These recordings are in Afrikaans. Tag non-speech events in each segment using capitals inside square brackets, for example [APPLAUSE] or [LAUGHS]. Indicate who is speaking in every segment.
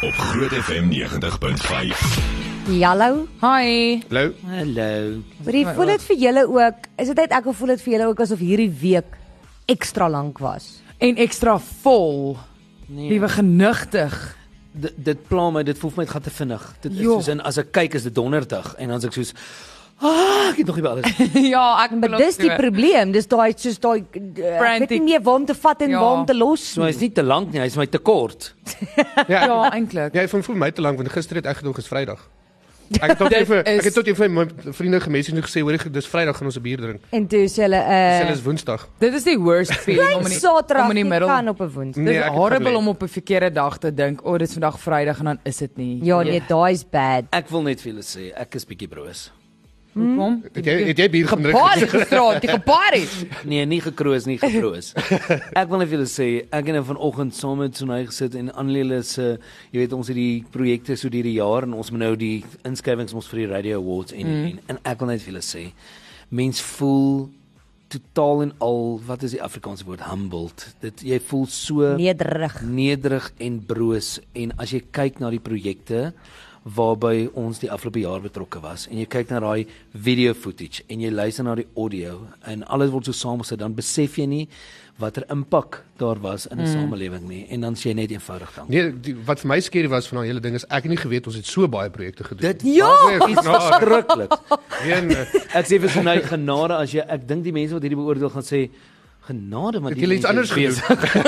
Speaker 1: op Groot FM 90.5.
Speaker 2: Jallo.
Speaker 3: Hi.
Speaker 4: Hallo.
Speaker 5: Hallo.
Speaker 2: Maar jy voel dit vir julle ook. Is dit net ek of voel dit vir julle ook asof hierdie week ekstra lank was?
Speaker 3: En ekstra vol.
Speaker 5: Nee.
Speaker 3: Liewe genigtig.
Speaker 5: dit, dit pla my, dit voel vir my dit gaan te vinnig. Dit is
Speaker 3: Jo.
Speaker 5: soos in as ek kyk is dit donderdag en dan is ek soos ah, ek het nog nie by alles.
Speaker 3: ja, ek
Speaker 2: Maar dis die probleem, dis daai soos daai eh, ek weet
Speaker 3: Frantic.
Speaker 2: nie meer waar om te vat en
Speaker 3: Ja.
Speaker 2: waar om te los.
Speaker 5: So hy's nie te lank nie, hy's my te kort.
Speaker 4: Ja.
Speaker 3: Ja,
Speaker 4: ja.
Speaker 3: eintlik.
Speaker 4: Jy voel vir my te lank want gister het ek gedog is
Speaker 3: [LAUGHS]
Speaker 4: Vrydag. Ek het tot
Speaker 3: Dit
Speaker 4: een van
Speaker 3: is-
Speaker 4: ek het tot een van my vriende gemessage en gesê hoor ek dis Vrydag gaan ons 'n bier drink.
Speaker 2: En toe is hulle
Speaker 4: Sê
Speaker 3: Eh,
Speaker 2: uh
Speaker 4: is Woensdag.
Speaker 3: Dit is die worst feeling om in die,
Speaker 2: Saterdag
Speaker 3: om in die middel.
Speaker 2: kan op 'n
Speaker 3: Dit
Speaker 2: Woensdag.
Speaker 4: Nee,
Speaker 3: is
Speaker 4: ek het
Speaker 3: horrible
Speaker 4: gelê.
Speaker 3: om op 'n verkeerde dag te dink, o, oh, dit is vandag Vrydag en dan is dit nie.
Speaker 2: Ja, nee, daai's bad.
Speaker 5: Ek wil net vir julle sê, ek is bietjie broos.
Speaker 3: Hoekom?
Speaker 4: Het jy het jy bier gaan drink?
Speaker 3: Gepaard gisterand, die gepaard is.
Speaker 5: Nee, nie gekroos nie, gebroos. ek wil net vir julle sê, ek het nou vanoggend saam met Sonay gesit en Annelie se, jy weet ons het die projekte so deur die jaar en ons moet nou die inskrywings mos vir die Radio Awards en mm. en, en ek wil net vir julle sê, mens voel totaal en al wat is die Afrikaanse woord humbled. Dit jy voel so
Speaker 2: Nee, Nederig. [LAUGHS]
Speaker 5: nederig en broos en as jy kyk na die projekte waarby ons die afgelope jaar betrokke was en jy kyk na daai video footage en jy luister na die audio en alles word so saamgesit dan besef jy nie watter impak daar was in 'n mm. samelewing nie en dan sê jy net eenvoudig dan
Speaker 4: Nee, die, wat vir my skerry was van daai hele ding is ek het nie geweet ons het so baie projekte gedoen.
Speaker 5: Dit
Speaker 4: ja,
Speaker 5: is verskriklik.
Speaker 4: een eh,
Speaker 5: Ek sê vir Sonay genade as jy ek dink die mense wat hierdie beoordeel gaan sê genade maar [LAUGHS]
Speaker 4: het jy iets anders gedoen.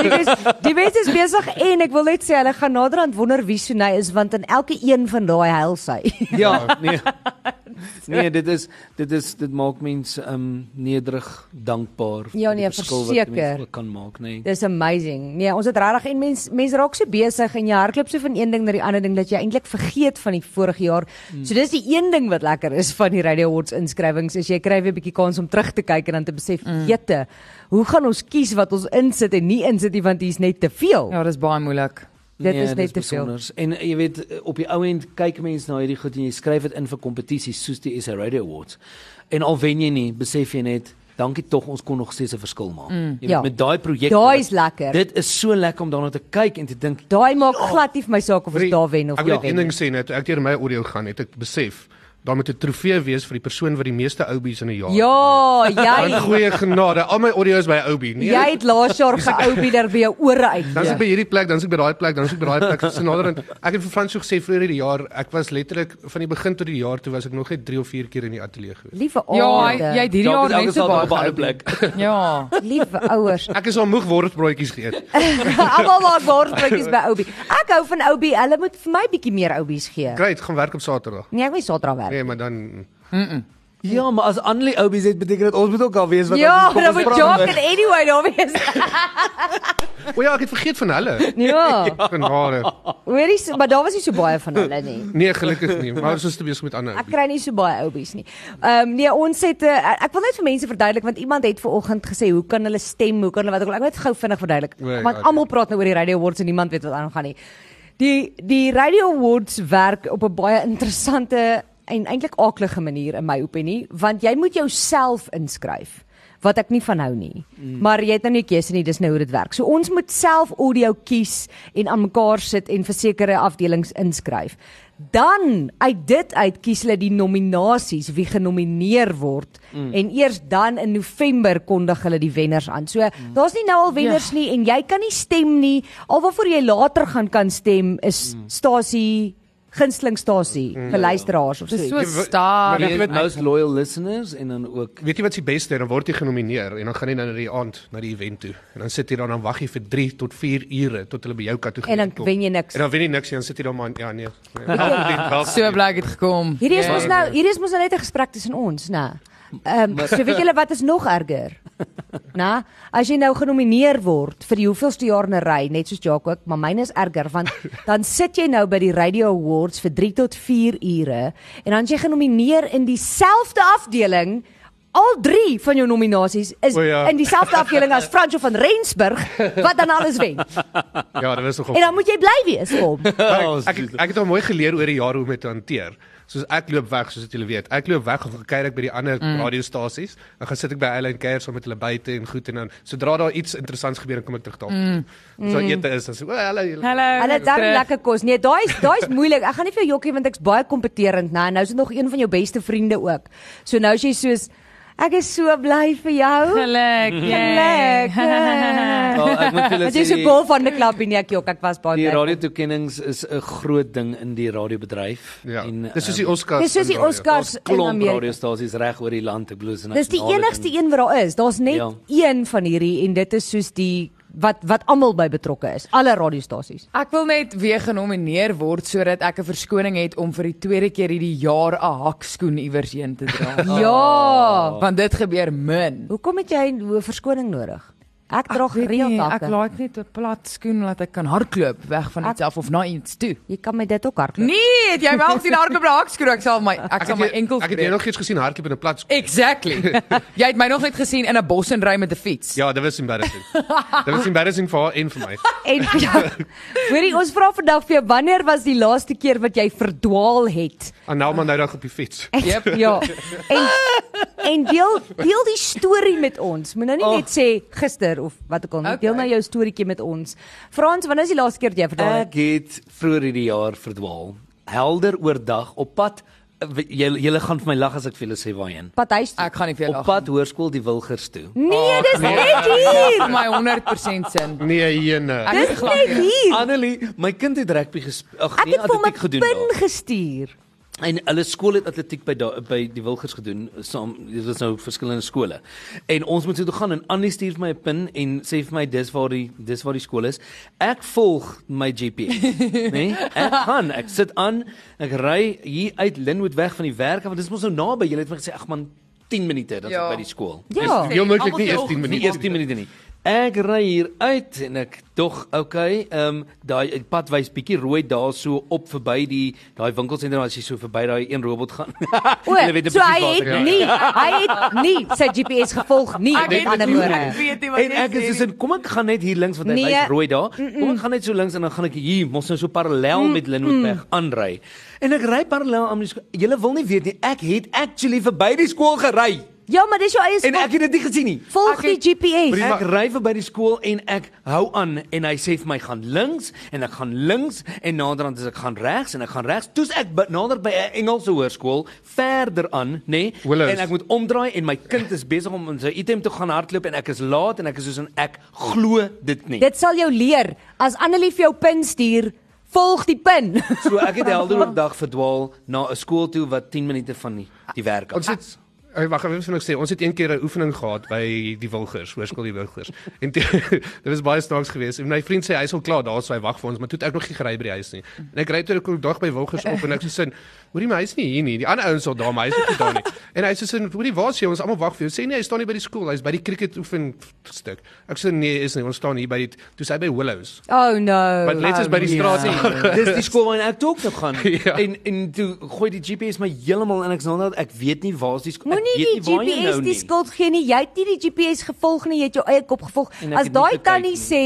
Speaker 2: Dit is die mense is besig en ek wil net sê hulle gaan naderhand wonder wie Sunay is want in elke een van daai huil sy.
Speaker 5: [LAUGHS] Ja, nee. Nee, dit is dit is dit maak mense um nederig, dankbaar. vir
Speaker 2: Ja,
Speaker 5: die
Speaker 2: nee,
Speaker 5: verskil wat die mense
Speaker 2: verseker.
Speaker 5: ook kan maak, nee.
Speaker 2: Dis amazing. Nee, ons het regtig en mens mens raak so besig en jy hardloop so van een ding na die ander ding dat jy eintlik vergeet van die vorige jaar. So dis die een ding wat lekker is van die Radio Awards inskrywings is jy kry weer 'n bietjie kans om terug te kyk en dan te besef, jette, hoe gaan ons kies wat ons insit en nie insit nie want hier's net te veel.
Speaker 3: Ja, dis baie moeilik.
Speaker 2: dit
Speaker 5: nee,
Speaker 2: is net te veel.
Speaker 5: besonders. En eh, jy weet op die ou end kyk mense na hierdie goed en jy skryf dit in vir kompetisies soos die SA Radio Awards. En al wen jy nie, besef jy net dankie tog ons kon nog steeds 'n verskil maak. Mm, jy weet
Speaker 2: ja.
Speaker 5: met daai projek.
Speaker 2: Daai is lekker.
Speaker 5: Dit is so lekker om daarna te kyk en te dink
Speaker 2: Daai maak glad nie vir my saak of ons
Speaker 4: Marie,
Speaker 2: daar wen of
Speaker 4: Ek wil
Speaker 2: nie
Speaker 4: net een
Speaker 2: wen.
Speaker 4: ding sê net toe ek deur my audio gaan het ek besef daar moet 'n trofee wees vir die persoon wat die meeste oubies in 'n jaar.
Speaker 2: Ja,
Speaker 4: Dan
Speaker 2: jy
Speaker 4: goeie genade. Al my audio is by 'n oubie. Nee.
Speaker 2: jy het laas jaar geoubie daar by jou E ore
Speaker 4: Dan is
Speaker 2: uit.
Speaker 4: ek by hierdie plek, dan is ek by daai plek, dan is ek by daai plek. Dis naderhand. Ek het vir Frans so gesê vroeër hierdie jaar, ek was letterlik van die begin tot die jaar toe was ek nog net 3 of 4 keer in die ateljee gewees.
Speaker 2: Liewe
Speaker 3: Ja, jy jy
Speaker 2: ouers.
Speaker 3: het hierdie
Speaker 5: dalk
Speaker 3: jaar
Speaker 5: is elke
Speaker 3: net so
Speaker 5: Saterdag op 'n
Speaker 3: baie.
Speaker 5: ander plek. [LAUGHS]
Speaker 3: Ja.
Speaker 2: Liewe ouers.
Speaker 4: Ek is al moeg wortelbroodjies geëet.
Speaker 2: [LAUGHS] Almal maak waarsprutjies by Oubie. Ek hou van Oubie. Hulle moet vir my bietjie meer Oubies gee.
Speaker 4: Great, gaan werk op Saterdag.
Speaker 2: Nee, ek wil nie Saterdag werk.
Speaker 4: Nee, maar dan
Speaker 5: Ja, maar as Annelie Oubies het beteken dit ons moet ook al wees wat
Speaker 2: Ja,
Speaker 5: ons kom
Speaker 2: dan
Speaker 5: ons
Speaker 2: moet
Speaker 5: praat
Speaker 2: Jock
Speaker 5: met-
Speaker 2: en anyway daar wees.
Speaker 4: O ja, ek het vergeet van hulle.
Speaker 2: Ja.
Speaker 4: Genade.
Speaker 2: Hoorie, so- maar daar was nie so baie van hulle nie.
Speaker 4: Nee, gelukkig nie, maar ons is te besig met ander.
Speaker 2: Ek kry nie so baie oubies nie. Ehm um, nee, ons het uh, ek wil net vir mense verduidelik want iemand het ver oggend gesê hoe kan hulle stem, hoe kan hulle wat ook al. Ek wil net gou vinnig verduidelik
Speaker 4: Nee,
Speaker 2: want
Speaker 4: okay.
Speaker 2: almal praat nou oor die Radio Awards en niemand weet wat aangaan nie. Die die Radio Awards werk op 'n baie interessante en eintlik aaklige manier in my opinie, want jy moet jouself inskryf wat ek nie van hou nie. Mm. Maar jy het nou nie keuse nie, dis nou hoe dit werk. So ons moet self audio kies en aan mekaar sit en vir sekere afdelings inskryf. Dan uit dit uit kies hulle die nominasies wie genomineer word mm. en eers dan in November kondig hulle die wenners aan. So mm. daar's nie nou al wenners ja. nie en jy kan nie stem nie. Al waarvoor jy later gaan kan stem is mm. stasie gunstelingstasie mm. vir luisteraars of so.
Speaker 3: Dis
Speaker 2: iets.
Speaker 3: so
Speaker 4: wa-
Speaker 3: stadig.
Speaker 4: Weet jy wat-
Speaker 5: most loyal listeners en dan ook
Speaker 4: Weet jy wat se beste, dan word jy genomineer en dan gaan jy nou na die aand na die event toe. En dan sit jy daar en dan wag jy vir 3 tot 4 ure tot hulle by jou kategorie
Speaker 2: En dan
Speaker 4: kom.
Speaker 2: wen jy niks.
Speaker 4: En dan wen jy niks, en dan sit jy daar maar ja nee.
Speaker 2: [LAUGHS]
Speaker 4: nee.
Speaker 3: So blyk dit gekom.
Speaker 2: Hierdie is
Speaker 3: Ja.
Speaker 2: mos nou, hierdie is mos nou net 'n gesprek tussen ons, né? Ehm um, so weet julle wat is nog erger?
Speaker 4: [LAUGHS]
Speaker 2: Na, as jy nou genomineer word vir die hoeveelste jaar in 'n ry, net soos Jaco ook, maar myne is erger
Speaker 4: [LAUGHS]
Speaker 2: want dan sit jy nou by die Radio Awards vir 3 tot 4 ure en dan as jy genomineer in dieselfde afdeling Al drie van jou nominasies is
Speaker 4: O ja.
Speaker 2: in dieselfde afdeling
Speaker 4: [LAUGHS]
Speaker 2: as Fransjo van Rensburg wat dan alles wen.
Speaker 4: Ja, dit was nog op.
Speaker 2: En dan moet jy bly wees kom.
Speaker 4: Maar ek, ek, ek het al mooi geleer oor die jare hoe om dit te hanteer. soos ek loop weg soos wat julle weet. Ek loop weg of ek kuier ek by die ander mm. radiostasies. Dan gaan sit ek by hulle en kuier saam met hulle buite en goed en dan sodra daar iets interessants gebeur, dan kom ek terug daar. Mm. So ete is dan so, "O, hallo julle."
Speaker 3: Hallo.
Speaker 2: Hulle het dan lekker kos. Nee, daai is daai is moeilik. Ek gaan nie vir jou jokkie want ek's baie kompeterend, né? En nou is dit nog een van jou beste vriende ook. So nou as jy soos ek is so bly vir jou.
Speaker 3: Geluk. ja.
Speaker 2: Geluk.
Speaker 5: Wel, ek moet julle
Speaker 2: Dit is so
Speaker 5: sê-
Speaker 2: cool van die klap en ek jok, ek was baie
Speaker 5: Die
Speaker 2: bly.
Speaker 5: radiotoekennings is 'n groot ding in die radiobedryf
Speaker 4: Ja.
Speaker 5: en
Speaker 4: Dis soos
Speaker 5: ehm,
Speaker 4: die Oscars.
Speaker 2: Dis soos die
Speaker 4: in radio.
Speaker 2: Oscars.
Speaker 5: daar's klomp
Speaker 2: in Amerika.
Speaker 5: radiostasies reg oor die land, ek bedoel is 'n
Speaker 2: Dis die
Speaker 5: nasionale
Speaker 2: enigste
Speaker 5: ding.
Speaker 2: een wat daar is. Daar's net
Speaker 5: Ja.
Speaker 2: een van hierdie en dit is soos die wat wat almal by betrokke is. Alle radiostasies.
Speaker 3: Ek wil net weer genomineer word sodat ek 'n verskoning het om vir die tweede keer hierdie jaar 'n hakskoen iewers heen te [LAUGHS] dra.
Speaker 2: Ja.
Speaker 3: Want dit gebeur min.
Speaker 2: Hoekom het jy 'n verskoning nodig? Ek dra
Speaker 3: weet
Speaker 2: gereeld
Speaker 3: nie, Ek
Speaker 2: takke.
Speaker 3: laat net 'n plat skoen laat ek kan hardloop weg van
Speaker 2: Ek-
Speaker 3: iets af of na iets toe.
Speaker 2: Jy kan met dit ook hardloop.
Speaker 3: Nee, het jy wel gesien hardloop na hakskoen ek sal my ek
Speaker 4: Ek
Speaker 3: sal
Speaker 4: het
Speaker 3: my
Speaker 4: jou-
Speaker 3: enkel
Speaker 4: Ek het jou
Speaker 3: breek.
Speaker 4: nog iets gesien hardloop in 'n plat.
Speaker 3: [LAUGHS] Exactly. jy het my nog net gesien in 'n bos en ry met 'n fiets.
Speaker 4: Ja, dit was embarrassing. dit was embarrassing vir haar en vir my.
Speaker 2: [LAUGHS] En ja, hoorie ons vra vandag vir jou wanneer was die laaste keer wat jy verdwaal het?
Speaker 4: En nou maar nou dag op die fiets.
Speaker 2: Yep. Ja. En en deel deel die storie met ons. Moenie nou nie net sê gister of wat ook al nie. Deel nou jou storieetjie met ons. Vra ons wanneer is die laaste keer dat jy verdwaal het?
Speaker 5: Ek het vroeër hierdie jaar verdwaal. Helder oordag op pad julle julle gaan vir my lag as ek vir julle sê waarheen.
Speaker 2: Pad huis. toe.
Speaker 3: Ek gaan nie vir jou
Speaker 5: Op
Speaker 3: lag.
Speaker 5: pad hoërskool die Wilgers toe.
Speaker 2: Nee, dis net hier.
Speaker 3: Vir my 100% sin.
Speaker 4: Nee, eh, jene.
Speaker 3: Ek is
Speaker 2: Dis
Speaker 3: glad
Speaker 2: net
Speaker 3: nie.
Speaker 2: hier.
Speaker 5: Annelie, my kind het rugby gespeel. Ag
Speaker 2: Ek
Speaker 5: nee,
Speaker 2: het vir my
Speaker 5: atletiek gedoen. daar.
Speaker 2: pin gestuur.
Speaker 5: En hulle skool het atletiek by da, by die Wilgers gedoen saam dit was nou verskillende skole. En ons moet toe toe gaan en Annie stuur vir my 'n pin en sê vir my dis waar die dis waar die skool is. Ek volg my GPS, né? Nee? Ek gaan, ek sit aan, ek ry hier uit Linwood weg van die werk af want dit is mos nou naby. Jy het my gesê ag man 10 minute dan ja.
Speaker 3: Ja.
Speaker 5: by die skool.
Speaker 2: Ja.
Speaker 4: Heel moontlik nie eers
Speaker 5: Of
Speaker 4: 10
Speaker 5: nie
Speaker 4: minute.
Speaker 5: eers 10 minute nie. Ek ry hier uit en ek tog okay, ehm um, daai pad wys bietjie rooi daar so op verby die daai winkelsentrum as jy so verby daai een robot gaan.
Speaker 2: O,
Speaker 5: Hulle weet
Speaker 2: so hy
Speaker 5: waar ek
Speaker 2: het
Speaker 5: ry.
Speaker 2: nie, hy het nie sy GPS gevolg nie.
Speaker 3: Ek
Speaker 2: Met
Speaker 3: het
Speaker 2: ander woorde.
Speaker 3: weet nie
Speaker 5: En ek is soos in kom ek gaan net hier links want hy
Speaker 2: Nee.
Speaker 5: wys rooi daar. Kom ek gaan net so links en dan gaan ek hier mos nou so parallel met Linwoodweg aanry. En ek ry parallel aan die skool. Julle wil nie weet nie, ek het actually verby die skool gery
Speaker 2: Ja, maar dis jou eie
Speaker 5: en
Speaker 2: skuld.
Speaker 5: ek het dit nie gesien nie.
Speaker 2: Volg die GPS.
Speaker 5: Ek ry verby die skool en ek hou aan en hy sê vir my gaan links en ek gaan links en naderhand as ek gaan regs en ek gaan regs. Toe's ek by- nader by 'n Engelse hoërskool verder aan, nê? Nee,
Speaker 4: Willows.
Speaker 5: en ek moet omdraai en my kind is besig om in sy item te gaan hardloop en ek is laat en ek is soos en ek glo dit nie.
Speaker 2: Dit sal jou leer as Annelie vir jou pin stuur, volg die pin. [LAUGHS]
Speaker 5: So ek
Speaker 4: [LAUGHS]
Speaker 5: het helder op dag verdwaal na 'n skool toe wat 10 minute van die, die werk af.
Speaker 4: Ons het Ek wag even vinnig sê, ons het een keer 'n oefening gehad by die Wilgers, hoërskool die Wilgers. En toe- [LAUGHS] dit was baie snaaks geweest. En my vriend sê hy is al klaar daar, so hy wag vir ons, maar toe het ek nog nie gery by die huis nie. En ek ry toe ek kom dag by Wilgers op en ek sê sin, hoorie my huis nie hier nie. Die ander ouens al daar, maar hy is ook nie daar nie. En hy sê sin, hoorie waar is jy? Ons almal wag vir jou. Sê nee, hy staan nie by die skool, hy's by die cricket oefen stuk. Ek sê nee, hy is nie. Ons staan hier by die toe sê hy by Willows.
Speaker 2: Oh
Speaker 4: Wat
Speaker 2: no.
Speaker 4: let is by die straat nie.
Speaker 5: Ja. [LAUGHS] Dis die skool waarin ek toe ook nou [LAUGHS] gaan.
Speaker 4: Ja.
Speaker 5: En en toe gooi die GPS my heeltemal in ek's nou dat ek weet nie waar's die skool.
Speaker 2: Moenie
Speaker 5: Ek
Speaker 2: die
Speaker 5: weet nie waar jy
Speaker 2: GPS
Speaker 5: nou
Speaker 2: die
Speaker 5: nie.
Speaker 2: skuld gee nie. Jy het nie die GPS gevolg nie, jy het jou eie kop gevolg.
Speaker 5: En ek
Speaker 2: As
Speaker 5: het nie
Speaker 2: daai
Speaker 5: gekyk
Speaker 2: tannie sê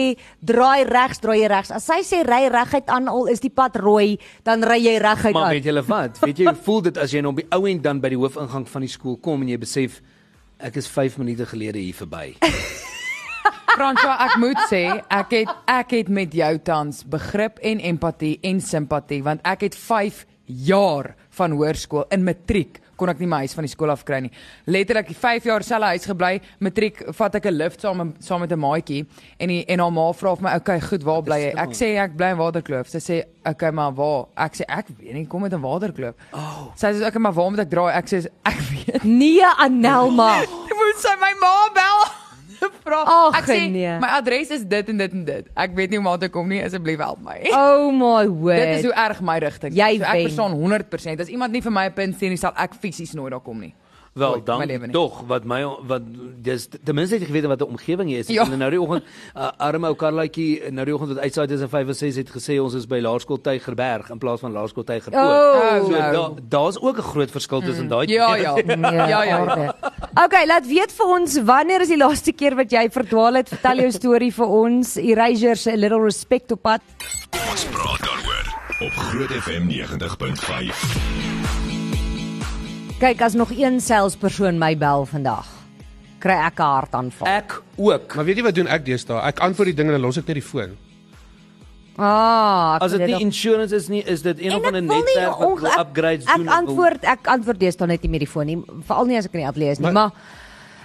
Speaker 2: draai regs, draai jy regs. As sy sê ry reguit aan al is die pad rooi, dan ry jy reguit
Speaker 5: Maar
Speaker 2: aan.
Speaker 5: weet julle wat? Weet jy hoe [LAUGHS] voel dit as jy nou op die ou end dan by die hoofingang van die skool kom en jy besef ek is 5 minute gelede hier verby.
Speaker 2: [LAUGHS]
Speaker 3: Franswa, ek moet sê, ek het ek het met jou tans begrip en empatie en simpatie want ek het 5 jaar van hoërskool in matriek kon ek nie my huis van die skool af kry nie. Letterlik 5 jaar selfe huis gebly. Matriek vat ek 'n lift saam met- saam met 'n maatjie en die, en haar ma vra vir my, "Oké, okay, goed, waar bly jy?" Ek sê ek bly in Waterkloof. Sy sê, "Oké, okay, maar waar?" Ek sê, "Ek weet nie, kom met 'n Waterkloof." Oh. Sy sê, "Oké, okay, maar waar moet ek draai?" Ek sê, "Ek weet."
Speaker 2: Nee, Anelma.
Speaker 5: [LAUGHS]
Speaker 3: Jy moet sy my ma bel. [LAUGHS] Vra.
Speaker 2: Ag,
Speaker 3: ek sê
Speaker 2: nee.
Speaker 3: my adres is dit en dit en dit. Ek weet nie hoe om haar te kom nie, asseblief help my.
Speaker 2: Oh my
Speaker 3: [LAUGHS] Dit is
Speaker 2: word.
Speaker 3: hoe erg my rigting.
Speaker 2: Jy
Speaker 3: so ek
Speaker 2: wen.
Speaker 3: verstaan 100%. As iemand nie vir my 'n punt sien nie, sal ek fisies nooit daar kom nie.
Speaker 5: Wel
Speaker 3: Nooit in my lewe
Speaker 5: dan
Speaker 3: nie.
Speaker 5: tog wat my wat dis ten minste het jy geweet wat 'n omgewing hier is.
Speaker 3: Ja.
Speaker 5: Ja. Nou die oggend [LAUGHS] uh, arme ou Karlaatjie nou die oggend wat uitsaai tussen 5 en 6 het gesê ons is by Laerskool Tygerberg in plaas van Laerskool Tygerpoort.
Speaker 2: Oh.
Speaker 5: so
Speaker 3: Nou.
Speaker 5: daar daar's ook 'n groot verskil tussen daai
Speaker 3: Ja, ja.
Speaker 2: Nee,
Speaker 3: ja, ja.
Speaker 2: aarde. Okay, laat weet vir ons wanneer is die laaste keer wat jy verdwaal het? Vertel jou storie vir ons. Erasure se Little Respect op pad.
Speaker 1: Ons praat daaroor op Groot FM 90.5.
Speaker 2: kyk as nog een salespersoon my bel vandag, kry ek 'n hartaanval.
Speaker 5: Ek ook.
Speaker 4: Maar weet jy wat doen ek deesdae? Ek antwoord die ding en dan los ek net die foon.
Speaker 2: Ah, ek moet
Speaker 5: As dit
Speaker 2: dit
Speaker 5: nie
Speaker 2: nog-
Speaker 5: insurance is nie, is dit een of
Speaker 2: En
Speaker 5: ander
Speaker 2: ek wil nie
Speaker 5: netwerk wat
Speaker 2: onge-
Speaker 5: wil
Speaker 2: ek-
Speaker 5: upgrades
Speaker 2: ek
Speaker 5: doen.
Speaker 2: Ek antwoord ek antwoord deesdae net nie met die foon nie, veral nie as ek in die ateljee is nie, maar,
Speaker 4: Maar-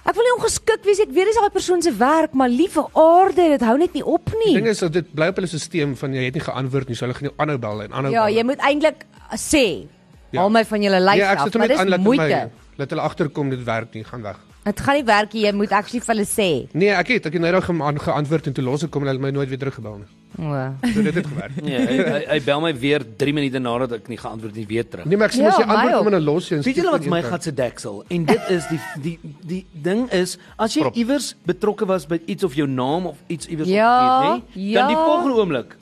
Speaker 2: ek wil nie ongeskik wees, ek weet dis daai persoon se werk, maar liewe aarde, dit hou net nie op
Speaker 4: Die
Speaker 2: nie.
Speaker 4: ding is dat dit bly op hulle stelsel van jy het nie geantwoord nie, so hulle gaan jou aanhou bel en aanhou.
Speaker 2: Ja,
Speaker 4: bel.
Speaker 2: jy moet eintlik sê
Speaker 4: nou Ja.
Speaker 2: Al my van julle lyf
Speaker 4: Nee, ek
Speaker 2: af,
Speaker 4: sit hom
Speaker 2: maar
Speaker 4: net aan
Speaker 2: dis
Speaker 4: laat my
Speaker 2: moeite.
Speaker 4: laat hulle agterkom dit werk nie, gaan weg.
Speaker 2: Dit gaan nie werk nie, jy moet actually vir hulle sê.
Speaker 4: Nee, ek het ek het nou daag geantwoord en toe los ek kom en hulle het my nooit weer teruggebel nie.
Speaker 2: O.
Speaker 4: So dit het gewerk.
Speaker 5: Ja, hy, hy, hy bel my weer 3 minute nadat ek nie geantwoord het nie weer terug.
Speaker 4: Nee, maar ek sê
Speaker 2: Ja,
Speaker 4: mos jy
Speaker 2: my
Speaker 4: antwoord
Speaker 2: ook.
Speaker 4: kom en dan los jy. en
Speaker 5: Weet julle
Speaker 4: skiet
Speaker 5: wat
Speaker 4: in
Speaker 5: my
Speaker 4: een
Speaker 5: gat se deksel en dit is die die die ding is as jy
Speaker 4: Prop.
Speaker 5: iewers betrokke was by iets of jou naam of iets iewers
Speaker 2: Ja,
Speaker 5: opgeet, nê? Dan die
Speaker 2: ja.
Speaker 5: volgende oomblik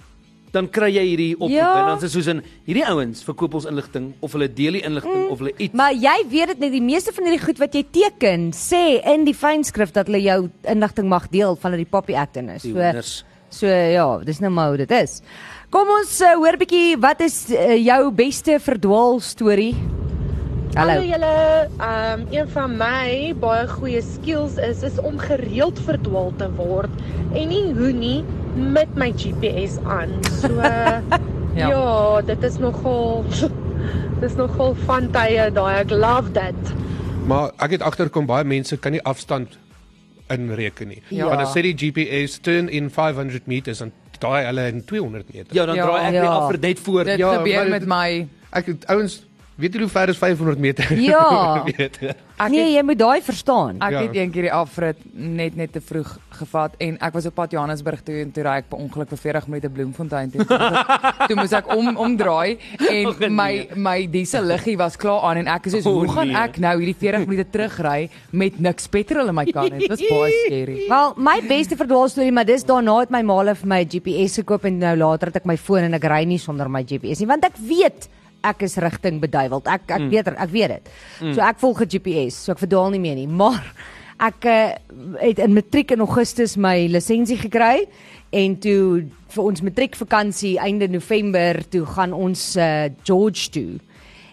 Speaker 5: dan kry jy hierdie oproep
Speaker 2: Ja.
Speaker 5: en dan is dit soos in hierdie ouens verkoop ons inligting of hulle deel die inligting mm, of hulle iets.
Speaker 2: Hmm. Maar jy weet dit net die meeste van hierdie goed wat jy teken sê in die fynskrif dat hulle jou inligting mag deel van dat die Poppy Act in is.
Speaker 5: Die
Speaker 2: So
Speaker 5: hoenders.
Speaker 2: so ja, dis nou maar hoe dit is. Kom ons uh, hoor bietjie wat is uh, jou beste verdwaal storie? Hallo.
Speaker 6: Hallo
Speaker 7: ja,
Speaker 6: julle. Ehm een van my baie goeie skills is is om gereeld verdwaal te word en nie hoe nie met my GPS aan. [LAUGHS] So ja.
Speaker 3: Ja.
Speaker 6: ja, dit is nogal [LAUGHS] dis nogal van tye daai ek love that.
Speaker 4: punt. Maar ek het agterkom baie mense kan nie afstand inreken nie.
Speaker 2: Ja.
Speaker 4: Want as sê die GPS turn in 500 meters en daai hulle in 200 meter.
Speaker 5: Ja, dan
Speaker 3: Ja,
Speaker 5: draai ek
Speaker 2: ja.
Speaker 5: weer af vir net voor.
Speaker 3: Dit
Speaker 4: Ja,
Speaker 3: ja, gebeur
Speaker 4: maar
Speaker 3: met
Speaker 4: dit-
Speaker 3: my
Speaker 4: Ek het ouens weet jy hoe ver is 500 meter? [LAUGHS]
Speaker 2: Ja.
Speaker 4: weet.
Speaker 3: ek
Speaker 2: Nee, jy moet daai verstaan.
Speaker 3: Ek
Speaker 4: Ja.
Speaker 3: het een keer die afrit net net te vroeg gevat en ek was op pad Johannesburg toe en toe raai ek per ongeluk vir 40 minute Bloemfontein toe. [LAUGHS] toe moes ek om omdraai en
Speaker 5: Och, nee.
Speaker 3: my my diesel liggie was klaar aan en ek is soos
Speaker 5: O,
Speaker 3: hoe gaan
Speaker 5: nee.
Speaker 3: ek nou hierdie 40 minute terugry met niks petrol in my kar nie. Dit was baie skerry.
Speaker 2: Wel, my beste verdwaal storie, maar dis daarna het my maale vir my 'n GPS gekoop en nou later het ek my foon en ek ry nie sonder my GPS nie, want ek weet ek is rigting beduiweld. Ek ek mm. weet ek weet dit. Mm. So ek volg 'n GPS, so ek verdwaal nie meer nie, maar ek uh, het in matriek in Augustus my lisensie gekry en toe vir ons matriekvakansie einde November toe gaan ons uh, George toe.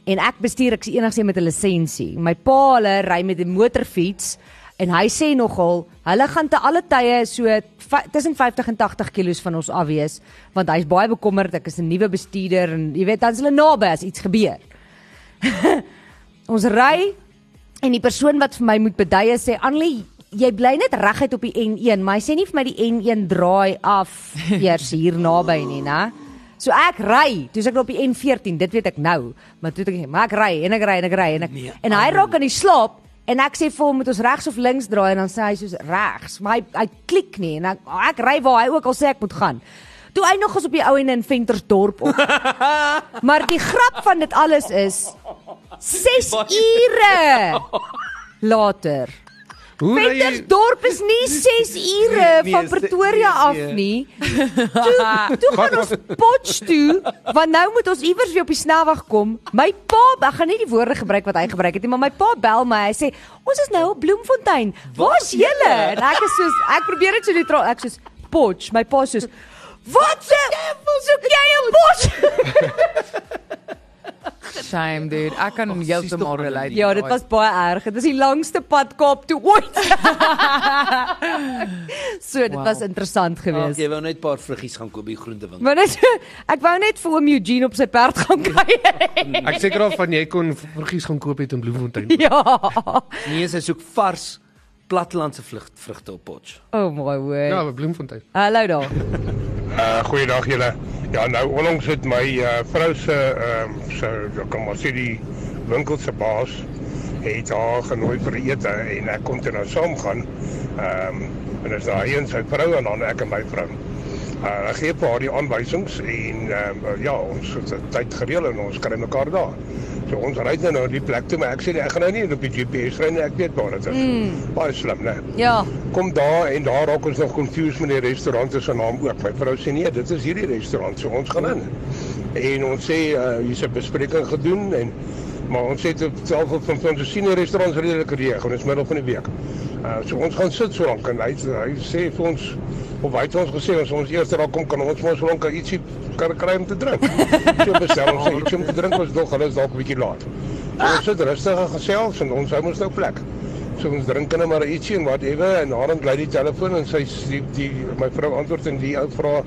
Speaker 2: En ek bestuur ek is enigste een met 'n lisensie. My pa hulle ry met 'n motorfiets en hy sê nogal hulle gaan te alle tye so va- tussen 50 en 80 kilos van ons af wees want hy's baie bekommerd ek is 'n nuwe bestuurder en jy weet dan's hulle naby as iets gebeur. [LAUGHS] ons ry en die persoon wat vir my moet beduie sê Annelie jy bly net reguit op die N1 maar hy sê nie vir my die N1 draai af eers hier naby nie nè. So ek ry, toe is ek nou op die N14, dit weet ek nou, maar toe het ek maar ek ry en ek ry en ek ry en ek
Speaker 5: Nee,
Speaker 2: en hy raak aan die slaap en ek sê vir hom moet ons regs of links draai en dan sê hy soos regs, maar hy hy klik nie en ek ek ry waar hy ook al sê ek moet gaan. Toe hy nog eens op die ou en in Ventersdorp op. maar die grap van dit alles is 6 ure later.
Speaker 4: Hoe ry jy?
Speaker 2: Ventersdorp is nie 6 ure
Speaker 5: Nee,
Speaker 2: van
Speaker 5: is dit-
Speaker 2: Pretoria af nie. Toe, toe gaan ons Potch toe, want nou moet ons iewers weer op die snelweg kom. My pa, ek gaan nie die woorde gebruik wat hy gebruik het nie, maar my pa bel my. Hy sê, "Ons is nou op Bloemfontein. Waar's julle?" En ek is soos ek probeer dit so neutraal. Ek soos Potch, my pa soos Wat se soek jy op Potch?
Speaker 3: Shame dude. Ek kan heeltemal relate.
Speaker 2: Ja, dit was baie erg. Dit was die langste pad Kaap toe ooit. [LAUGHS] so dit
Speaker 3: Wow.
Speaker 2: was interessant geweest.
Speaker 5: Jy wou net 'n paar vruggies gaan koop by die groentewinkel.
Speaker 2: Maar net ek wou net vir oom Eugene op sy perd gaan [LAUGHS] kuier.
Speaker 4: Ek seker af van jy kon vruggies gaan koop het in Bloemfontein.
Speaker 2: ja.
Speaker 5: Nee, sy soek vars platlandse vlug- vrugte op potch.
Speaker 2: Oh my word.
Speaker 4: Ja,
Speaker 2: Ja.
Speaker 4: Bloemfontein.
Speaker 2: Hallo daar.
Speaker 8: Uh goeiedag julle. Ja, nou onlangs het my uh, vrou se ehm um, se ek kan maar sê die winkel se baas het haar genooi vir ete en ek kon toe nou saam gaan. Ehm um, en is daai een sy vrou en dan ek en my vrou. Uh ek gee vir haar die aanwysings en ehm um, ja, ons het dit tyd gereël en ons kry mekaar daar. So ons ry nou na die plek toe, maar ek sê nee, ek gaan nou nie op die GPS ry nie, ek weet waar dit is. Mm. Baie slim, né?
Speaker 2: Ja.
Speaker 8: kom daar en daar raak ons nog confused met die restaurant se naam ook. My vrou sê nee, dit is hierdie restaurant, so ons gaan in. En ons sê uh, hier's 'n bespreking gedoen en maar ons het op 12 van van ons sien die restaurant redelik reg en ons middel van die week. Uh, so ons gaan sit so lank en hy, hy sê vir ons of hy het ons gesê as ons eers daar kom kan ons mos so lank ietsie kan kry om te drink. so bestel ons ietsie om te drink, ons dog hulle is dalk 'n bietjie laat. Ons het rustig gesels en ons hou mos nou plek. So ons drink net maar ietsie en whatever en Aaron bly die telefoon en sy s- die, die my vrou antwoord en die ou vra,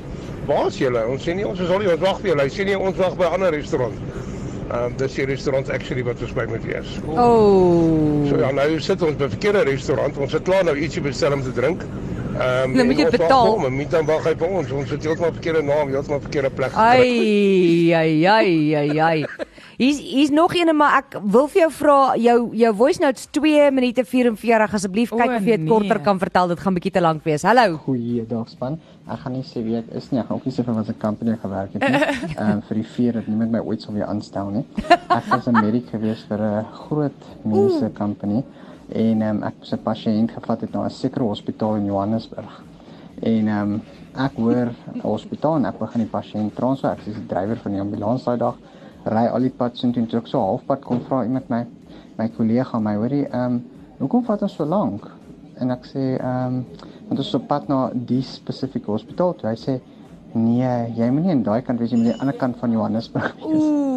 Speaker 8: "Waar's julle?" Ons sê nee, ons is al hier, ons wag vir julle. Hy sê nee, ons wag by 'n ander restaurant. Ehm um, dis die restaurant actually wat ons by moet wees.
Speaker 2: Oh.
Speaker 8: So ja, nou sit ons by 'n verkeerde restaurant. Ons het klaar nou ietsie bestel om te drink. Ehm um,
Speaker 2: Nou moet jy betaal.
Speaker 8: Maar moet dan wag hy vir ons. Ons het heeltemal verkeerde naam, heeltemal verkeerde plek. gekry.
Speaker 2: Ai ai ai ai ai. Hier's hier's nog een maar ek wil vir jou vra jou jou voice notes 2 minute 44 asseblief kyk
Speaker 3: O,
Speaker 2: of jy dit
Speaker 3: nee.
Speaker 2: korter kan vertel dit gaan bietjie te lank wees. Hallo.
Speaker 9: goeiedag span. Ek gaan nie sê wie ek is nie, ek gaan ook nie sê vir watter company ek gewerk het nie. Ehm um, vir die fear dat niemand my ooit sal weer aanstel nie. Ek was 'n medic gewees vir 'n groot mense company en ehm um, ek was 'n pasiënt gevat het na 'n sekere hospitaal in Johannesburg. En ehm um, ek hoor 'n hospitaal en ek begin die pasiënt transfer. Ek is die drywer van die ambulans daai dag. Ry al die pad soontoe en toe ek so halfpad kom vra iemand my my kollega my hoorie ehm um, hoekom vat ons so lank? En ek sê ehm um, want ons is op pad na die spesifieke hospitaal toe. Hy sê nee, jy moenie aan daai kant wees, jy moet aan die ander kant van Johannesburg wees.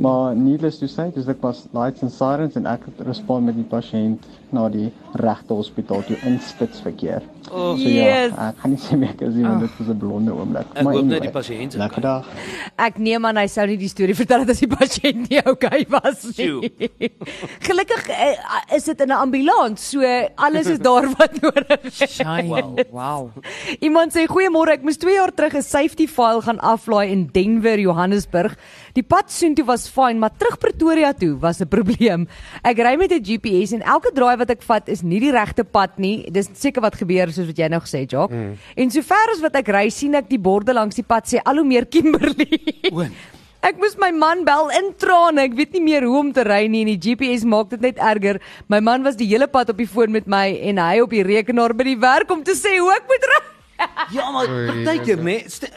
Speaker 9: Maar needless to say, dis dit was lights and sirens en ek het respond met die pasiënt na die regte hospitaal toe in spitsverkeer. Oh, so
Speaker 2: Yes.
Speaker 9: ja, ek kan nie sê meer as jy want dit was 'n blonde oomblik.
Speaker 5: Ek hoop net die pasiënt is
Speaker 9: Lekker
Speaker 5: okay.
Speaker 9: dag.
Speaker 2: Ek neem aan hy sou nie die storie [LAUGHS] vertel het as die pasiënt nie okay was nie. [LAUGHS] Gelukkig eh, is dit in 'n ambulans, so alles is daar [LAUGHS] wat nodig is.
Speaker 3: Shine. Wow. wow.
Speaker 2: Iemand sê goeiemôre, ek moes 2 jaar terug 'n safety file gaan aflaai in Denver, Johannesburg. Die pad soontoe was fyn, maar terug Pretoria toe was 'n probleem. Ek ry met 'n GPS en elke draai wat ek vat is nie die regte pad nie. Dis seker wat gebeur soos wat jy nou gesê het, Jacques. Mm. En sover as wat ek ry, sien ek die borde langs die pad sê al hoe meer Kimberley. [LAUGHS]
Speaker 5: Oom.
Speaker 2: Ek moes my man bel in trane. Ek weet nie meer hoe om te ry nie en die GPS maak dit net erger. My man was die hele pad op die foon met my en hy op die rekenaar by die werk om te sê hoe ek moet ry.
Speaker 5: Ja, maar
Speaker 4: Oei,
Speaker 5: partykeer nê, st-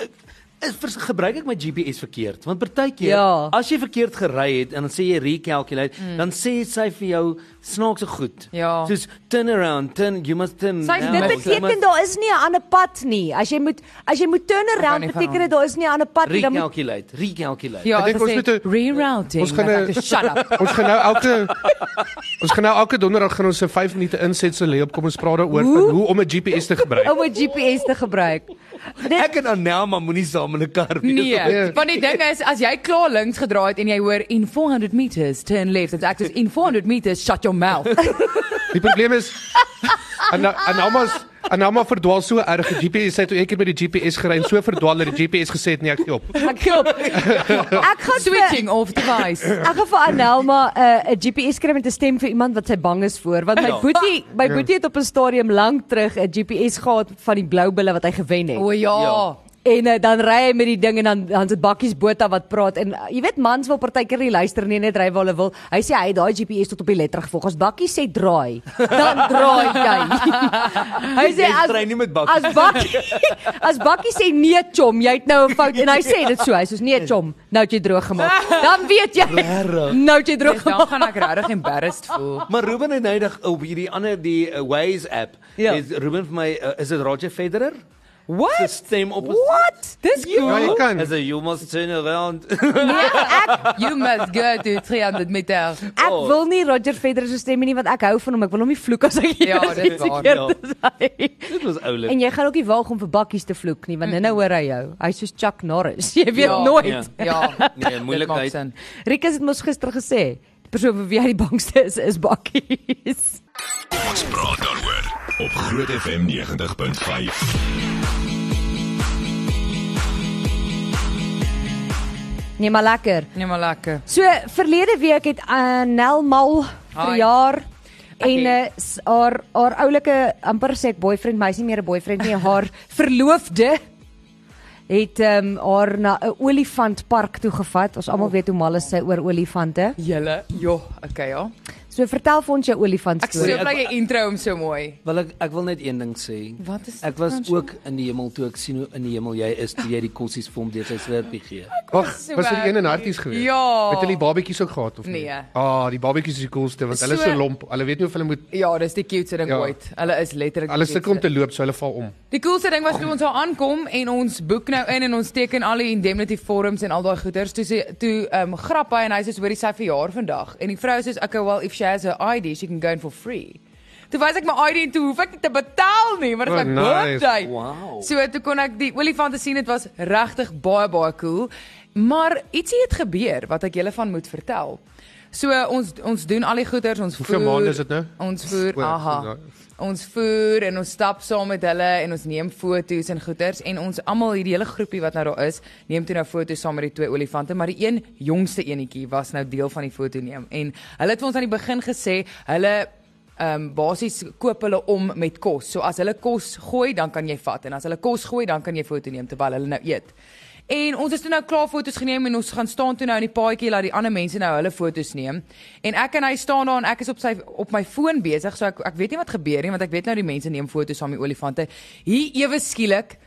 Speaker 5: is vers, gebruik ek my GPS verkeerd, want partykeer
Speaker 2: Ja.
Speaker 5: as jy verkeerd gery het en dan sê jy recalculate, mm. dan sê sy vir jou snaakse goed.
Speaker 3: Ja.
Speaker 5: Soos turn around, turn you must turn.
Speaker 3: Sy-
Speaker 2: Dit
Speaker 5: down,
Speaker 3: Ja,
Speaker 5: you
Speaker 2: beteken
Speaker 5: must
Speaker 2: daar is nie 'n ander pad nie. As jy moet as jy moet turn
Speaker 3: hou
Speaker 2: around
Speaker 3: nie van
Speaker 2: beteken
Speaker 3: hom.
Speaker 2: dit daar is nie 'n ander pad nie. Dan moet
Speaker 5: recalculate, recalculate.
Speaker 3: Ja,
Speaker 4: Ek dink
Speaker 3: ek
Speaker 4: ons
Speaker 3: sê,
Speaker 4: moet 'n-
Speaker 3: rerouting.
Speaker 4: ons gaan
Speaker 3: Dan
Speaker 4: een-
Speaker 3: sê ek, shut up.
Speaker 4: Ons gaan nou elke [LAUGHS] ons gaan nou elke donderdag gaan ons 'n 5 minute insetsel hê op kom ons praat daaroor van hoe om 'n GPS te gebruik.
Speaker 2: ou 'n GPS te gebruik. Dit
Speaker 5: Ek en Anelma moenie saam in 'n kar wees.
Speaker 3: Nee, want die ding is as jy klaar links gedraai het en jy hoor in 400 meters turn left, dan sê ek dis in 400 meters shut your mouth. [LAUGHS]
Speaker 4: Die probleem is nou- Anama's Anama nou verdwaal so erg. Die GPS het toe een keer by die GPS gery en so verdwaal dat die GPS gesê het nee, ek gee [LAUGHS] op.
Speaker 2: [LAUGHS] ek help. Ek gaan vir,
Speaker 3: Switching off device.
Speaker 2: ek gaan vir Anelma 'n uh, GPS skryf met 'n stem vir iemand wat sy bang is voor want my
Speaker 5: Ja.
Speaker 2: boetie my boetie het op 'n stadium lank terug 'n GPS gehad van die blou bulle wat hy gewen het.
Speaker 3: O ja.
Speaker 5: Ja.
Speaker 2: En uh, dan ry hy met die ding en dan dan sit bakkies Botha wat praat en uh, jy weet mans wil partykeer nie luister nie net ry waar hulle wil. Hy sê hy het daai GPS tot op die letter gevolg. As bakkie sê draai, dan
Speaker 5: [LAUGHS]
Speaker 2: draai jy. hy sê
Speaker 5: Jy
Speaker 2: as
Speaker 5: stry nie met Bakkie."
Speaker 2: As
Speaker 5: [LAUGHS]
Speaker 2: bakkie as bakkie sê nee chom, jy het nou 'n fout en hy sê dit so. Hy sê nee chom, nou het jy droog
Speaker 5: [LAUGHS]
Speaker 2: gemaak. Dan weet jy. Nou het jy droog
Speaker 3: Dis dan
Speaker 2: gemaak.
Speaker 3: gaan ek regtig embarrassed voel.
Speaker 5: Maar Ruben het nydig op hierdie ander die uh, Waze app.
Speaker 2: Ja.
Speaker 5: Is Ruben vir my uh, is dit Roger Federer? Sy
Speaker 3: What?
Speaker 5: stem op
Speaker 2: What?
Speaker 5: [LAUGHS]
Speaker 2: Dis Nee,
Speaker 4: Ja, jy kan.
Speaker 5: As you must turn around. [LAUGHS]
Speaker 3: You must go to 300 meter.
Speaker 2: Ek
Speaker 5: Oh.
Speaker 2: wil nie Roger Federer se stem hê nie want ek hou van hom. Ek wil hom nie vloek as ek
Speaker 3: Ja,
Speaker 2: hier is
Speaker 3: dit is
Speaker 2: nie,
Speaker 3: waar,
Speaker 2: seker
Speaker 5: ja.
Speaker 2: te sy.
Speaker 5: Dit was oulik.
Speaker 2: En jy gaan ook nie waag om vir bakkies te vloek nie, want nou hoor hy jou. Hy's soos Chuck Norris. [LAUGHS] Jy weet ja,
Speaker 3: Ja.
Speaker 2: nooit.
Speaker 5: Ja.
Speaker 2: Ja.
Speaker 3: [LAUGHS] Ja.
Speaker 5: Nee, moeilikheid.
Speaker 2: Rikus het mos gister gesê, die persoon vir wie hy die bangste is, is bakkies. [LAUGHS]
Speaker 1: Ons praat daaroor op Groot FM 90.5.
Speaker 2: Nee, maar lekker.
Speaker 3: Nee maar lekker.
Speaker 2: So verlede week het Anel Mal
Speaker 3: Hi.
Speaker 2: verjaar en
Speaker 3: Ek
Speaker 2: eh, s- haar haar oulike amper sê ek boyfriend, maar hy's nie meer 'n boyfriend nie, haar verloofde het ehm um, haar na 'n olifantpark toe gevat. Ons almal weet hoe mal is sy oor olifante.
Speaker 3: Julle, ja, okay ja.
Speaker 2: So vertel vir ons jou olifant
Speaker 3: Ek so
Speaker 2: storie.
Speaker 5: ek-
Speaker 3: bly jy intro hom so mooi.
Speaker 5: Wel ek ek wil net een ding sê.
Speaker 3: Wat is
Speaker 5: Ek was
Speaker 3: Fransjo?
Speaker 5: ook in die hemel toe ek sien hoe in die hemel jy is toe jy die kossies vir hom deur sy slurpie gee.
Speaker 4: Wag,
Speaker 3: so
Speaker 4: was dit
Speaker 3: bad.
Speaker 4: een in harties gewees?
Speaker 3: Ja.
Speaker 4: Het hulle die babetjies ook gehad of nie?
Speaker 3: Nee.
Speaker 4: Ah, die babetjies is die coolste want hulle is so
Speaker 3: So-
Speaker 4: lomp. Hulle weet nie of hulle moet
Speaker 3: Ja, dis die cutest ding
Speaker 4: Ja.
Speaker 3: ooit. Hulle is letterlik die
Speaker 4: hulle sukkel om
Speaker 3: cutest.
Speaker 4: te loop, so hulle val om.
Speaker 3: Die coolste ding was toe ons daar aankom en ons boek nou in en ons teken al die indemnity forms en al daai goeders. Toe sê toe ehm um, grap hy en hy sê hoor dis sy verjaar vandag en die vrou sê okay well if she has her ID she can go in for free. Toe wys ek my ID en toe hoef ek nie te betaal nie, maar dit is
Speaker 4: Oh,
Speaker 3: my
Speaker 4: nice.
Speaker 3: birthday.
Speaker 5: Wow.
Speaker 3: So toe kon ek die olifante sien, dit was regtig baie baie cool. Maar ietsie het gebeur wat ek julle van moet vertel. So ons ons doen al die goeders, ons
Speaker 4: Hoeveel
Speaker 3: voer-
Speaker 4: maande is dit nou?
Speaker 3: Ons voer,
Speaker 4: O,
Speaker 3: aha.
Speaker 4: ja.
Speaker 3: Ons voer en ons stap saam met hulle en ons neem foto's en goeders en ons almal hierdie hele groepie wat nou daar is, neem toe nou foto's saam met die twee olifante, maar die een jongste enetjie was nou deel van die foto neem en hulle het vir ons aan die begin gesê hulle Ehm um, basies koop hulle om met kos. So as hulle kos gooi, dan kan jy vat en as hulle kos gooi, dan kan jy foto neem terwyl hulle nou eet. En ons het toe nou klaar foto's geneem en ons gaan staan toe nou in die paadjie laat die ander mense nou hulle foto's neem. En ek en hy staan daar en ek is op sy op my foon besig, so ek ek weet nie wat gebeur nie want ek weet nou die mense neem foto's van die olifante. Hier ewe skielik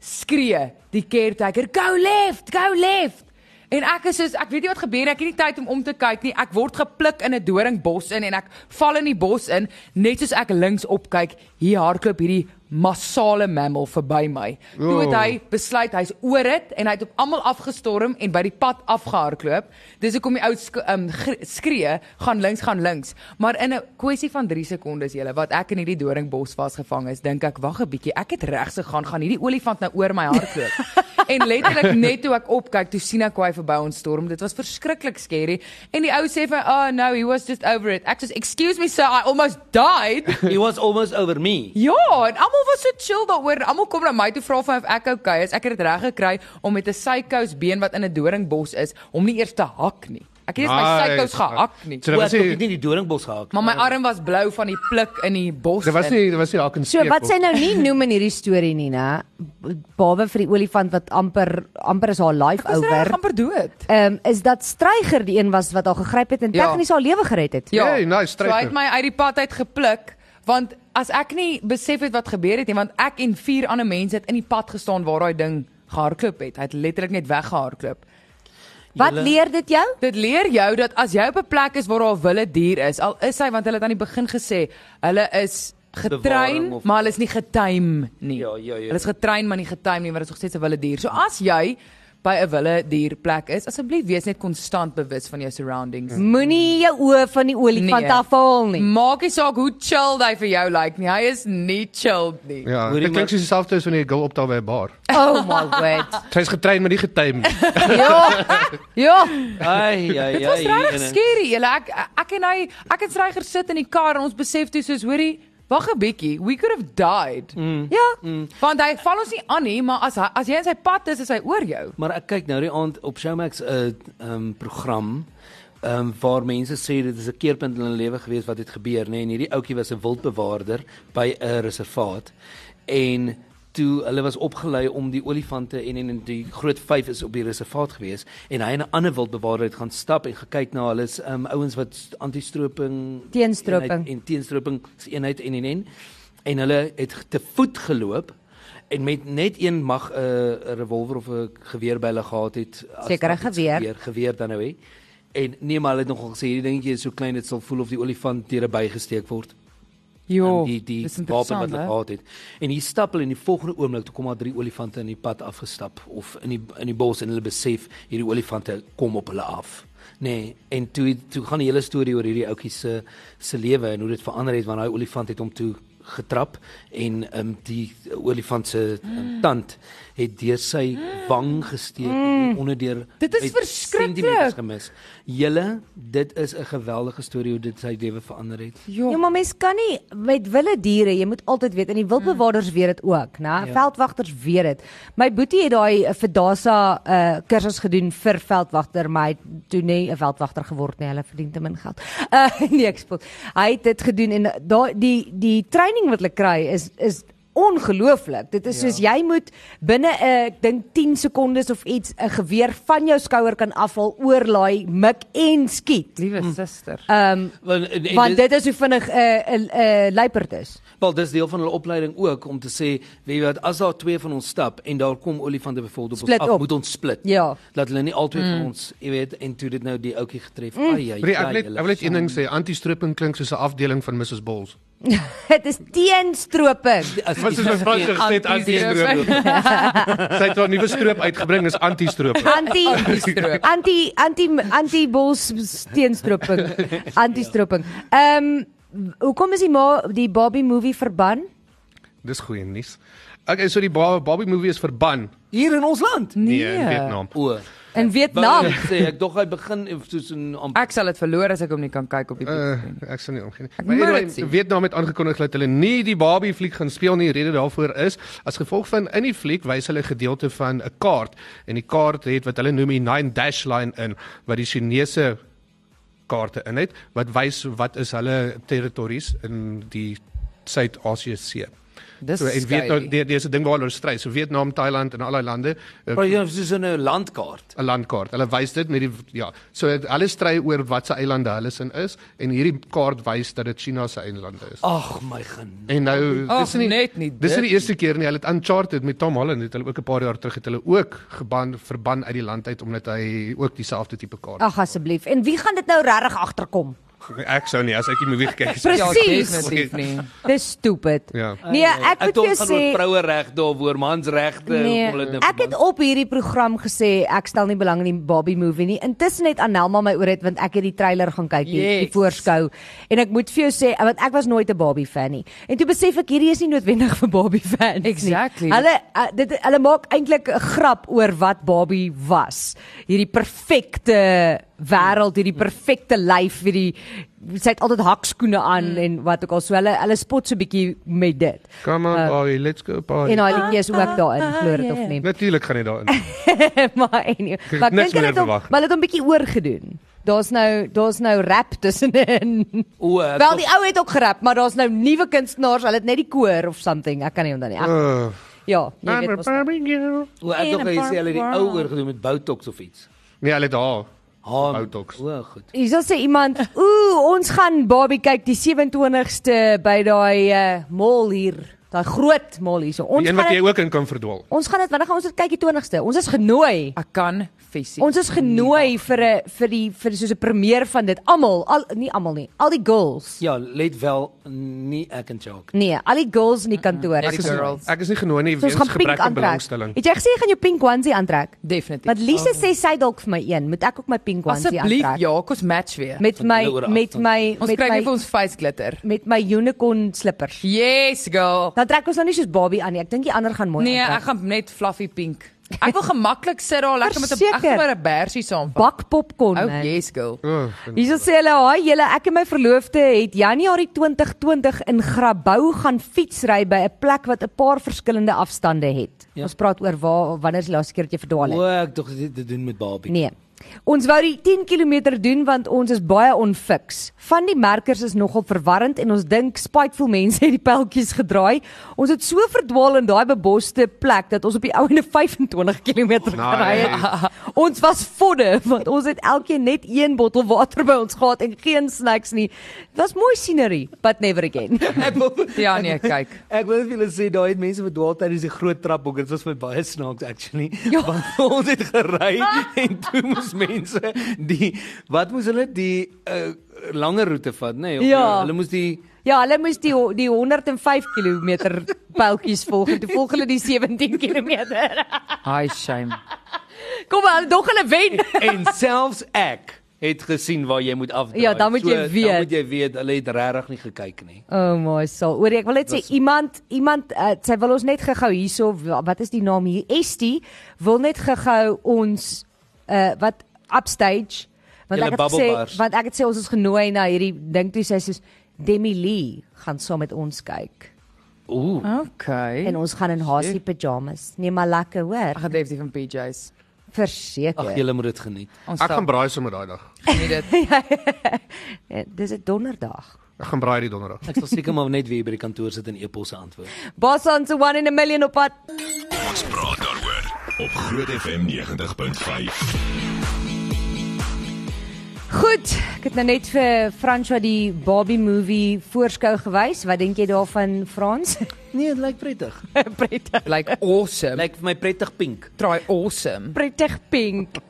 Speaker 3: skree die caretaker, "Go left, go left." En ek is soos ek weet nie wat gebeur nie, ek het nie tyd om om te kyk nie. Ek word gepluk in 'n doringbos in en ek val in die bos in net soos ek links opkyk, hier hardloop hierdie massale mammal verby my. Toe het hy besluit hy's oor dit en hy het op almal afgestorm en by die pad afgehardloop. Dis hoekom die ou sk um, gr- skree, gaan links, gaan links. Maar in 'n kwessie van 3 sekondes julle wat ek in hierdie doringbos vasgevang is, dink ek wag 'n bietjie, ek het regs gegaan, gaan hierdie olifant nou oor my hardloop. en letterlik net toe ek opkyk, toe sien ek hoe hy verby ons storm. Dit was verskriklik scary. En die ou sê vir my, "Oh no, he was just over it." Ek sê, "Excuse me sir, I almost died."
Speaker 5: It was almost over me.
Speaker 3: Ja, en almal was so chill daaroor. en Almal kom na my toe vra van of ek okay is. Ek het dit reg gekry om met 'n sykous been wat in 'n doringbos is, om nie eers te hak nie. Ek het nie eens my
Speaker 4: Nice.
Speaker 3: sykous gehak nie.
Speaker 4: So dit
Speaker 5: Wat
Speaker 4: was
Speaker 5: het ek
Speaker 4: nie
Speaker 5: het nie die doringbos gehak.
Speaker 3: Maar my arm was blou van die pluk in die bos.
Speaker 4: Dit was
Speaker 3: in.
Speaker 4: nie dit was nie hak en
Speaker 2: So
Speaker 4: steek.
Speaker 2: wat
Speaker 4: op.
Speaker 2: sy nou nie noem in hierdie storie nie, né? Behalwe vir die olifant wat amper amper is haar life
Speaker 3: Ek was reg
Speaker 2: over.
Speaker 3: amper dood.
Speaker 2: Ehm is dat Stryger die een was wat haar gegryp het en
Speaker 3: Ja.
Speaker 2: tegnies haar lewe gered het.
Speaker 3: Ja,
Speaker 4: Hey, nice,
Speaker 3: so hy het
Speaker 4: stryker.
Speaker 3: my uit die pad uit gepluk want as ek nie besef het wat gebeur het nie, want ek en vier ander mense het in die pad gestaan waar daai ding gehardloop het. Hy het letterlik net weggehardloop.
Speaker 2: Wat
Speaker 5: Julle-
Speaker 2: leer dit jou?
Speaker 3: Dit leer jou dat as jy op 'n plek is waar daar 'n wilde dier is, al is hy want hulle het aan die begin gesê, hulle is
Speaker 5: Bewaring
Speaker 3: getrein,
Speaker 5: of-
Speaker 3: maar hulle is nie getym nie.
Speaker 5: Ja, ja, ja.
Speaker 3: Hulle is getrein maar nie getym nie, want dit is nog steeds 'n wilde dier. So as jy by 'n wilde dier plek is, asseblief wees net konstant bewus van jou surroundings.
Speaker 5: Mm.
Speaker 2: Moenie jou oë van die olifant
Speaker 3: Nee.
Speaker 2: afhaal nie.
Speaker 3: Maak nie saak hoe chill hy vir jou lyk like nie. Hy is nie chilled nie.
Speaker 4: Ja,
Speaker 5: Hoorie,
Speaker 4: dit klink
Speaker 5: maar-
Speaker 4: soos dieselfde as wanneer jy 'n girl optel by 'n bar.
Speaker 2: Oh my word.
Speaker 3: [LAUGHS]
Speaker 4: Sy's getrein maar nie getym nie.
Speaker 2: Ja. Ja.
Speaker 5: Ai ai ai.
Speaker 3: Dit was regtig
Speaker 5: ene.
Speaker 3: skerry. Julle ek ek en hy, ek en Stryger sit in die kar en ons besef toe soos hoorie, wag 'n bietjie, we could have died. Ja. Want hy val ons nie aan nie, maar as hy, as jy in sy pad is, is hy oor jou.
Speaker 5: Maar ek kyk nou die aand op Showmax 'n um, program ehm um, waar mense sê dit is 'n keerpunt in hulle lewe gewees wat het gebeur nê nee? en hierdie ouetjie was 'n wildbewaarder by 'n reservaat en toe hulle was opgelei om die olifante en en en die groot vyf is op die reservaat gewees en hy en 'n ander wildbewaarder het gaan stap en gekyk na hulle um, ouens wat anti-stroping
Speaker 2: Teenstroping.
Speaker 5: eenheid- en teenstrooping se eenheid en en en en hulle het te voet geloop en met net een mag 'n uh, revolver of 'n geweer by hulle gehad het as
Speaker 2: Seker 'n
Speaker 5: dat iets
Speaker 2: geweer.
Speaker 5: gebeur, geweer dan nou hè en nee maar hulle het nogal gesê hierdie dingetjie is so klein dit sal voel of die olifant deur 'n by gesteek word
Speaker 3: Jo.
Speaker 5: um, die die
Speaker 3: dis
Speaker 5: wapen wat
Speaker 3: interessant,
Speaker 5: hulle
Speaker 3: hè?
Speaker 5: gehad het en hier stap hulle en die volgende oomblik toe kom daar drie olifante in die pad afgestap of in die in die bos en hulle besef hierdie olifante kom op hulle af nê nee, en toe toe gaan die hele storie oor hierdie ouetjie se se lewe en hoe dit verander het want daai olifant het hom toe getrap en um, die olifant se um,
Speaker 3: Mm.
Speaker 5: tand het deur sy wang gesteek mm. onder deur
Speaker 3: Dit is
Speaker 5: hy het
Speaker 3: verskriklik.
Speaker 5: centimeters gemis. Julle, dit is 'n geweldige storie hoe dit sy lewe verander het.
Speaker 2: Ja, maar mens kan nie met wilde diere, jy moet altyd weet en die wildbewaarders weet dit ook, né? Mm. Ja. Veldwagters weet dit. My boetie het daai eh, Verdasa uh kursus gedoen vir veldwagter, maar hy het toe nie 'n veldwagter geword nie. Hulle verdien te min geld. [LAUGHS] Eh, Uh nee, ek spot. Hy het dit gedoen en daai die die training wat hulle kry is is ongelooflik. Dit is soos jy moet binne 'n ek dink 10 sekondes of iets 'n geweer van jou skouer kan afhaal, oorlaai, mik en skiet.
Speaker 3: Liewe suster.
Speaker 2: Ehm
Speaker 5: Want, en- en
Speaker 2: want
Speaker 5: dis-
Speaker 2: dit is hoe vinnig 'n uh, 'n uh, uh, luiperd is.
Speaker 5: Wel, dis deel van hulle opleiding ook om te sê, weet jy wat, as daar twee van ons stap en daar kom olifante byvoorbeeld op
Speaker 2: Split
Speaker 5: ons af,
Speaker 2: op.
Speaker 5: moet ons split.
Speaker 2: Ja. Mm.
Speaker 5: Laat hulle nie albei van ons, jy weet, en toe dit nou die ouetjie getref. Mm. Ai ai.
Speaker 4: Brie, ek
Speaker 5: ai,
Speaker 4: wil net
Speaker 5: julle
Speaker 4: ek wil net een ding
Speaker 5: sal-
Speaker 4: sê, anti-strooping klink soos 'n afdeling van Mrs Bulls.
Speaker 2: Dit is
Speaker 3: [LAUGHS]
Speaker 2: teenstrooping.
Speaker 5: As
Speaker 4: Wat soos my vrou
Speaker 5: jy-
Speaker 4: gesê het, anti-strooping.
Speaker 2: Nee.
Speaker 4: Sy het haar nuwe stroop uitgebring, dis anti-strooping.
Speaker 2: [LAUGHS] Anti
Speaker 3: Anti-stroop.
Speaker 2: anti anti anti bols teenstrooping.
Speaker 3: [LAUGHS]
Speaker 2: Anti-strooping. Ehm hoekom is die ma die Barbie movie verban?
Speaker 4: Dis goeie nuus. Okay, so die Ba- Barbie movie is verban
Speaker 5: Hier in ons land.
Speaker 4: nee, in Vietnam.
Speaker 5: O.
Speaker 2: In
Speaker 5: Wel,
Speaker 2: Vietnam.
Speaker 5: ek Sê ek dog hy begin eh, soos in amper-
Speaker 3: Ek sal dit verloor as ek hom nie kan kyk op die
Speaker 4: Uh,
Speaker 3: uh,
Speaker 4: ek sal nie omgee nie.
Speaker 3: Ek
Speaker 4: Maar
Speaker 3: moet
Speaker 4: anyway,
Speaker 3: dit sien.
Speaker 4: Vietnam het aangekondig dat hulle nie die Barbie fliek gaan speel nie. Die rede daarvoor is as gevolg van in die fliek wys hulle 'n gedeelte van 'n kaart en die kaart het wat hulle noem die nine dash line in wat die Chinese kaarte in het wat wys wat is hulle territories in die Suid-Asië see.
Speaker 3: Dis
Speaker 4: So en nou, Vietnam
Speaker 3: skylie.
Speaker 4: die- dis 'n ding waar hulle stry. So Vietnam, Thailand en al daai lande eh,
Speaker 5: Maar jy soos 'n landkaart.
Speaker 4: 'n landkaart. Hulle wys dit met die ja, so het, hulle stry oor wat se eilande hulle sin is en hierdie kaart wys dat dit China se eilande is.
Speaker 5: Ag my genade.
Speaker 4: En nou
Speaker 3: Ag,
Speaker 4: nie
Speaker 3: net nie
Speaker 4: Dis nie
Speaker 3: dit
Speaker 4: die eerste keer nie. Hulle het Uncharted met Tom Holland het hulle ook 'n paar jaar terug het hulle ook geban verban uit die land uit omdat hy ook dieselfde tipe kaart.
Speaker 2: Ag asseblief. En wie gaan dit nou regtig agterkom?
Speaker 4: Ek sou nie as ek die movie gekyk het.
Speaker 3: Ja,
Speaker 2: Presies.
Speaker 3: definitief nie.
Speaker 2: Dis stupid.
Speaker 4: Ja.
Speaker 2: Nee,
Speaker 3: Eh,
Speaker 2: ek
Speaker 5: Ek
Speaker 2: moet
Speaker 5: dink
Speaker 2: vir jou
Speaker 5: van
Speaker 2: sê
Speaker 5: oor vroue regte of oor mansregte
Speaker 2: Nee,
Speaker 5: of hulle dit nou
Speaker 2: ek het
Speaker 5: verband-
Speaker 2: op hierdie program gesê ek stel nie belang in die Barbie movie nie. Intussen het Annelma my oor dit want ek het die trailer gaan kyk, die, yes. die
Speaker 3: Yes.
Speaker 2: voorskou. En ek moet vir jou sê want ek was nooit 'n Barbie fan nie. En toe besef ek hierdie is nie noodwendig vir Barbie fans nie.
Speaker 3: Exactly.
Speaker 2: Hulle uh, dit hulle maak eintlik 'n grap oor wat Barbie was. Hierdie perfekte wêreld, hierdie perfekte lyf, hierdie sy het altyd hakskoene aan mm. en wat ook al. So hulle hulle spot so 'n bietjie met dit.
Speaker 4: Come on, Barbie, let's go
Speaker 2: Ja. En
Speaker 4: party.
Speaker 2: daai liedjie is ook daarin, glo dit of nie.
Speaker 4: Natuurlik gaan hy
Speaker 2: [LAUGHS]
Speaker 4: daarin.
Speaker 2: maar anyway,
Speaker 4: het
Speaker 2: maar ek dink
Speaker 4: niks
Speaker 2: hulle
Speaker 4: meer
Speaker 2: het hom,
Speaker 4: verwag nie.
Speaker 2: maar hulle het hom bietjie oorgedoen. Daar's nou daar's nou rap tussenin.
Speaker 5: O, ek
Speaker 2: Wel
Speaker 5: dink-
Speaker 2: die ou het ook gerap, maar daar's nou nuwe kunstenaars, hulle het net die koor of something. Ek kan nie onthou nie. Ek,
Speaker 4: Uh,
Speaker 2: ja, jy
Speaker 4: I'm a
Speaker 2: weet mos. nou.
Speaker 4: Barbie girl.
Speaker 5: O, ek dink hy sê hulle het die ou oor gedoen met botox of iets.
Speaker 4: Nee, hulle het haar.
Speaker 5: Ha,
Speaker 4: Botox.
Speaker 5: O, goed.
Speaker 2: Hier sal sê iemand, ooh, ons gaan Barbie kyk die 27ste by daai uh, mall hier, daai groot mall hier. So
Speaker 4: Die
Speaker 2: ons
Speaker 4: een wat
Speaker 2: gaan
Speaker 4: jy
Speaker 2: dit,
Speaker 4: ook in kan verdwaal.
Speaker 2: ons gaan dit wanneer gaan ons dit kyk die 20ste? Ons is genooi.
Speaker 3: Ek kan fisies.
Speaker 2: Ons is genooi vir 'n vir die vir soos 'n premier van dit. Almal, al nie almal nie. Al die girls.
Speaker 5: Ja, let wel nie ek en Jacques.
Speaker 2: Nee, al die girls in die kantoor.
Speaker 3: Ek is girls.
Speaker 4: Ek is nie genooi nie
Speaker 2: So
Speaker 4: weens
Speaker 2: ons gaan pink
Speaker 4: gebrek aan
Speaker 2: aantrek.
Speaker 4: belangstelling.
Speaker 2: Het jy gesê jy gaan jou pink onesie aantrek?
Speaker 3: Definitief.
Speaker 2: Want Lise oh. sê sy dalk vir my een, moet ek ook my pink onesie
Speaker 3: Asseblief,
Speaker 2: aantrek?
Speaker 3: ja, kom ons match weer.
Speaker 2: Met
Speaker 5: Van
Speaker 2: my
Speaker 5: hulle oor
Speaker 2: met
Speaker 5: afstand.
Speaker 2: my
Speaker 3: ons
Speaker 2: met
Speaker 3: kry net vir
Speaker 2: my
Speaker 3: ons face glitter.
Speaker 2: met my unicorn slippers.
Speaker 3: Yes, girl.
Speaker 2: Dan trek ons nou nie soos Barbie aan nie. Ek dink die ander gaan mooi
Speaker 3: Nee, ek
Speaker 2: aantrek.
Speaker 3: gaan net fluffy pink. Ek wil gemaklik sit daar lekker met 'n ek
Speaker 2: Verseker.
Speaker 3: gaan maar 'n bersie saam. vat.
Speaker 2: Bak popcorn.
Speaker 3: Oh,
Speaker 2: man.
Speaker 3: yes, girl.
Speaker 4: Oh,
Speaker 2: Hierso sê hulle, "Haai julle, ek en my verloofde het Januarie 2020 in Grabouw gaan fietsry by 'n plek wat 'n paar verskillende afstande het."
Speaker 5: Ja.
Speaker 2: Ons praat oor waar wanneer is die laaste keer dat jy verdwaal het?
Speaker 5: O, ek dink dit dit doen met Barbie.
Speaker 2: Nee. Ons wou die 10 km doen want ons is baie onfiks. Van die merkers is nogal verwarrend en ons dink spiteful mense het die pyltjies gedraai. Ons het so verdwaal in daai beboste plek dat ons op die ou ene 25 km gery het. Ons was vodde want ons het elkeen net een bottel water by ons gehad en geen snacks nie. Dit was mooi scenery, but never again.
Speaker 5: Ek wil
Speaker 3: Ja, nee, kyk.
Speaker 5: Ek wil net vir julle sê daai het mense verdwaal tydens die groot trapboek. Dit was my baie snaaks actually.
Speaker 2: [LAUGHS] Ja.
Speaker 5: Ja. Want ons het gery
Speaker 2: [LAUGHS]
Speaker 5: en toe moes mense die wat moes hulle die uh, lange roete vat, nê? Nee,
Speaker 2: Ja.
Speaker 5: Hulle moes die
Speaker 2: Ja, hulle moes die ho- die 105 km pyltjies volg en toe volg hulle die 17 km.
Speaker 3: Hi shame.
Speaker 2: Kom maar, dog hulle wen.
Speaker 5: en selfs ek het gesien waar jy moet afdraai.
Speaker 2: Ja, dan moet jy weet.
Speaker 5: Dan moet jy weet hulle het regtig nie gekyk nie.
Speaker 2: O oh my sal. Oor ek wil net sê iemand iemand uh, sy wil ons net gou-gou hierso wa- wat is die naam hier? Estie wil net gou ons uh wat upstage want
Speaker 5: Julle
Speaker 2: ek het
Speaker 5: bubble
Speaker 2: gesê
Speaker 5: bars.
Speaker 2: want ek het sê ons is genooi na hierdie ding toe sy sê soos, Demi Lee gaan saam met ons kyk
Speaker 5: Ooh.
Speaker 3: Okay.
Speaker 2: en ons gaan in hasie pyjamas. Nee maar lekker
Speaker 3: Ek
Speaker 2: hoor.
Speaker 3: gaan definitief in PJs.
Speaker 5: Ag,
Speaker 2: Verseker.
Speaker 5: julle moet dit geniet.
Speaker 3: Ons
Speaker 4: ek gaan braai sommer daai dag.
Speaker 3: nie dit.
Speaker 2: Eh, Dis 'n donderdag.
Speaker 4: Ek gaan braai die donderdag.
Speaker 5: Ek sal seker maar net weer by die kantoor sit en e-posse antwoord.
Speaker 2: Bosan se 1 in 'n million op pad.
Speaker 1: Ons praat daaroor op Groot FM 90.5.
Speaker 2: Goed, ek het nou net vir François die Barbie movie voorskou gewys. Wat dink jy daarvan, Frans?
Speaker 5: Nee, dit lyk prettig.
Speaker 2: Prettig.
Speaker 3: Like awesome. Like
Speaker 5: Lyk vir my prettig pink.
Speaker 3: try awesome.
Speaker 2: [LAUGHS] Prettig pink.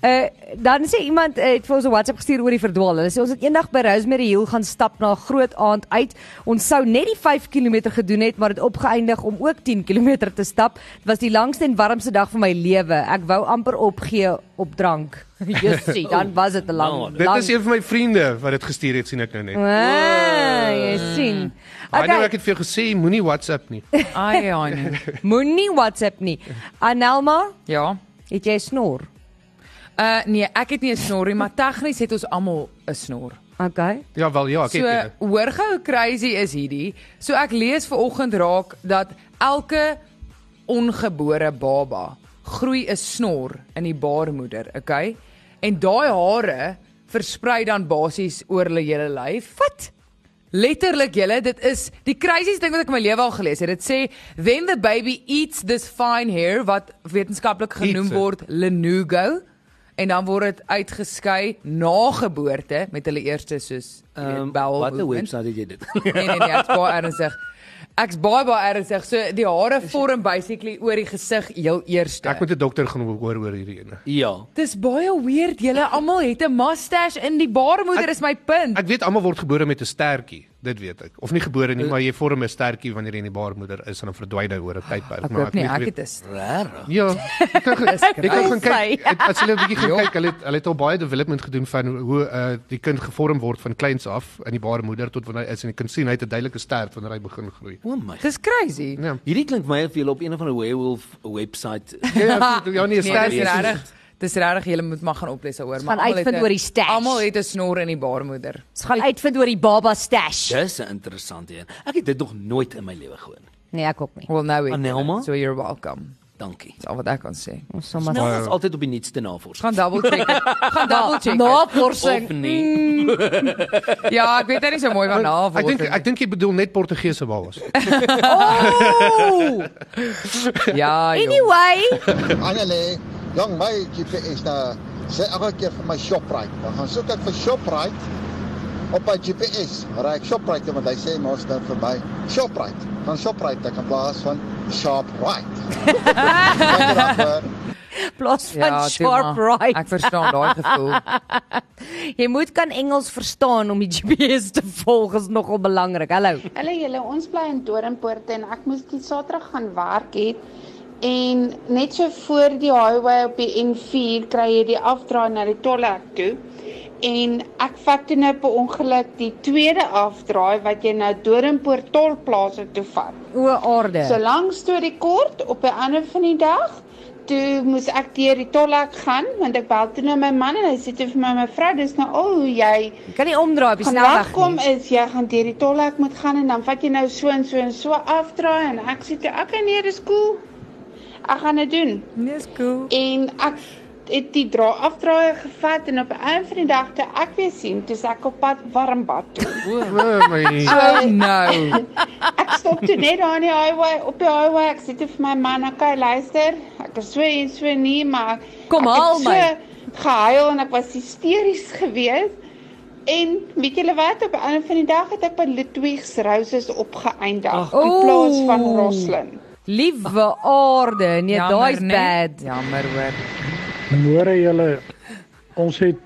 Speaker 2: Uh dan sê iemand uh, het vir ons 'n WhatsApp gestuur oor die verdwaal. Hulle sê ons het eendag by Rosemary Hill gaan stap na 'n groot aand uit. Ons sou net die 5 km gedoen het, maar dit opgeëindig om ook 10 km te stap. Dit was die langste en warmste dag van my lewe. Ek wou amper opgee op drank. [LAUGHS] Jessie, dan was dit 'n lang.
Speaker 4: Nou, Dit
Speaker 2: lang
Speaker 4: is een van my vriende wat dit gestuur het, sien ek nou net.
Speaker 3: Mm.
Speaker 2: Ah, jy sien.
Speaker 4: Okay. I know ek het vir jou gesê moenie WhatsApp
Speaker 3: [LAUGHS]
Speaker 4: nie.
Speaker 3: Ai ai. nee.
Speaker 2: Moenie WhatsApp nie. Anelma,
Speaker 3: Ja.
Speaker 2: het jy 'n snor?
Speaker 3: Uh nee, ek het nie 'n snorrie, maar tegnies het ons almal 'n snor.
Speaker 2: Okay.
Speaker 4: Ja wel ja, ek
Speaker 3: So
Speaker 4: het een.
Speaker 3: hoor gou hoe crazy is hierdie. So ek lees ver oggend raak dat elke ongebore baba groei 'n snor in die baarmoeder, okay? En daai hare versprei dan basies oor hulle hele lyf. Wat? Letterlik julle, dit is die craziest ding wat ek in my lewe al gelees het. Dit sê when the baby eats this fine hair wat wetenskaplik genoem
Speaker 4: Eats it.
Speaker 3: word lenugo en dan word dit uitgeskei na geboorte met hulle eerste soos
Speaker 5: Ehm um,
Speaker 3: um, bowel
Speaker 5: wat 'n
Speaker 3: movement.
Speaker 5: webwerf het jy dit? [LAUGHS]
Speaker 3: Nee nee nee, ek's baie ernstig. Ek's baie baie ernstig. So die hare vorm basically oor die gesig heel eers.
Speaker 4: Ek moet 'n dokter gaan hoor oor hierdie ene.
Speaker 5: ja.
Speaker 3: Dis baie weird. Julle almal het 'n mustache in die baarmoeder is my punt.
Speaker 4: Ek weet almal word gebore met 'n stertjie, dit weet ek. Of nie gebore
Speaker 3: Eh.
Speaker 4: nie, maar jy vorm 'n stertjie wanneer jy in die baarmoeder is en dan verdwyn hy oor 'n tydperk.
Speaker 3: Ek
Speaker 4: maar
Speaker 3: hoop nie
Speaker 4: weet-
Speaker 3: Nee, ek het is. [LAUGHS]
Speaker 5: Regtig.
Speaker 4: Ja. Ek kan ek kan gaan kyk.
Speaker 2: crazy.
Speaker 4: het- As hulle 'n bietjie
Speaker 3: Ja.
Speaker 4: gaan kyk, hulle het, hulle het al baie development gedoen van hoe uh, die kind gevorm word van kleins af in die baarmoeder tot wanneer hy is en jy kan sien hy het 'n duidelike stert wanneer hy begin groei.
Speaker 5: O my.
Speaker 3: Dis crazy.
Speaker 4: Ja.
Speaker 5: Hierdie klink my of jy op een of ander werewolf website. [LAUGHS]
Speaker 4: Ja, ja nee,
Speaker 3: Nee,
Speaker 4: sterk
Speaker 3: dis
Speaker 5: Stertjies.
Speaker 3: regtig. Dis regtig, julle moet maar gaan oples daaroor, maar
Speaker 2: Gaan uitvind
Speaker 3: het 'n-
Speaker 2: oor die stash.
Speaker 3: Almal het 'n snor in die baarmoeder.
Speaker 2: Ons gaan uitvind oor die baba stash.
Speaker 5: Dis 'n interessante een. Ek het dit nog nooit in my lewe gehoor nie.
Speaker 2: Nee, ek ook nie.
Speaker 3: Well nou ek.
Speaker 5: Anelma?
Speaker 3: So you're welcome.
Speaker 5: Dankie.
Speaker 3: Dis al wat ek kan sê.
Speaker 2: Ons sal maar
Speaker 5: Nou, ons is altyd op die nuutste navorsing.
Speaker 3: Gaan double check. het. Gaan double check. het.
Speaker 5: Of
Speaker 2: navorsing. Mm.
Speaker 5: nie.
Speaker 3: Ja, ek weet dit is so mooi van navorsing.
Speaker 4: [LAUGHS] Ek dink ek dink jy bedoel net Portugese [LAUGHS] babas.
Speaker 2: Oh!
Speaker 3: Ja, joh.
Speaker 2: [LAUGHS] Anyway,
Speaker 10: Annelie, jong my GPS na sê elke keer vir my Shoprite. Dan gaan soek ek vir Shoprite op my GPS. Maar ek Shoprite want hy sê mos dan verby Shoprite. Dan Shoprite ek in plaas van Sharp Right. Lekker dag, hoor.
Speaker 2: plaas van
Speaker 3: Ja, toe
Speaker 2: sharp
Speaker 3: maar.
Speaker 2: right.
Speaker 3: Ek verstaan daai [LAUGHS] gevoel.
Speaker 2: Jy moet kan Engels verstaan om die [LAUGHS] GPS te volg is nogal belangrik. Hallo.
Speaker 7: Hallo julle, ons bly in Doringpoort en ek moes die Saterdag gaan werk het en net so voor die highway op die N4 kry jy die afdraai na die tolhek toe. En ek vat toe nou per ongeluk die tweede afdraai wat jy nou Doringpoort tolplaas toe vat.
Speaker 2: O aarde.
Speaker 7: So lank storie kort, op 'n ander van die dag, toe moes ek deur die tolhek gaan want ek bel toe nou my man en hy sê toe vir my mevrou, dis nou al hoe jy
Speaker 2: Jy kan nie omdraai op die
Speaker 7: Gaan
Speaker 2: snelweg
Speaker 7: wegkom
Speaker 2: nie.
Speaker 7: is jy gaan deur die tolhek moet gaan en dan vat jy nou so en so en so afdraai en ek sê toe okay nee dis cool. Ek gaan dit doen.
Speaker 3: Dis cool.
Speaker 7: En ek het die dra afdraai gevat en op 'n einde van die dag toe ek weer sien, toe is ek op pad warmbad toe.
Speaker 4: O my.
Speaker 3: Oh no.
Speaker 7: Ek stop toe net daar aan die highway, op die highway. Ek sê toe vir my man, okay luister, ek is so en so nie, maar
Speaker 2: Kom
Speaker 7: ek het
Speaker 2: haal my.
Speaker 7: So gehuil en ek was hysteries geweest. En weet julle wat, op 'n ander van die dag het ek by Ludwig's Roses opgeëindig in
Speaker 2: Oeh.
Speaker 7: plaas van Roslyn.
Speaker 2: Liewe aarde. Nee, daai's
Speaker 3: nee.
Speaker 2: bad.
Speaker 3: Jammer hoor.
Speaker 11: Môre julle. Ons het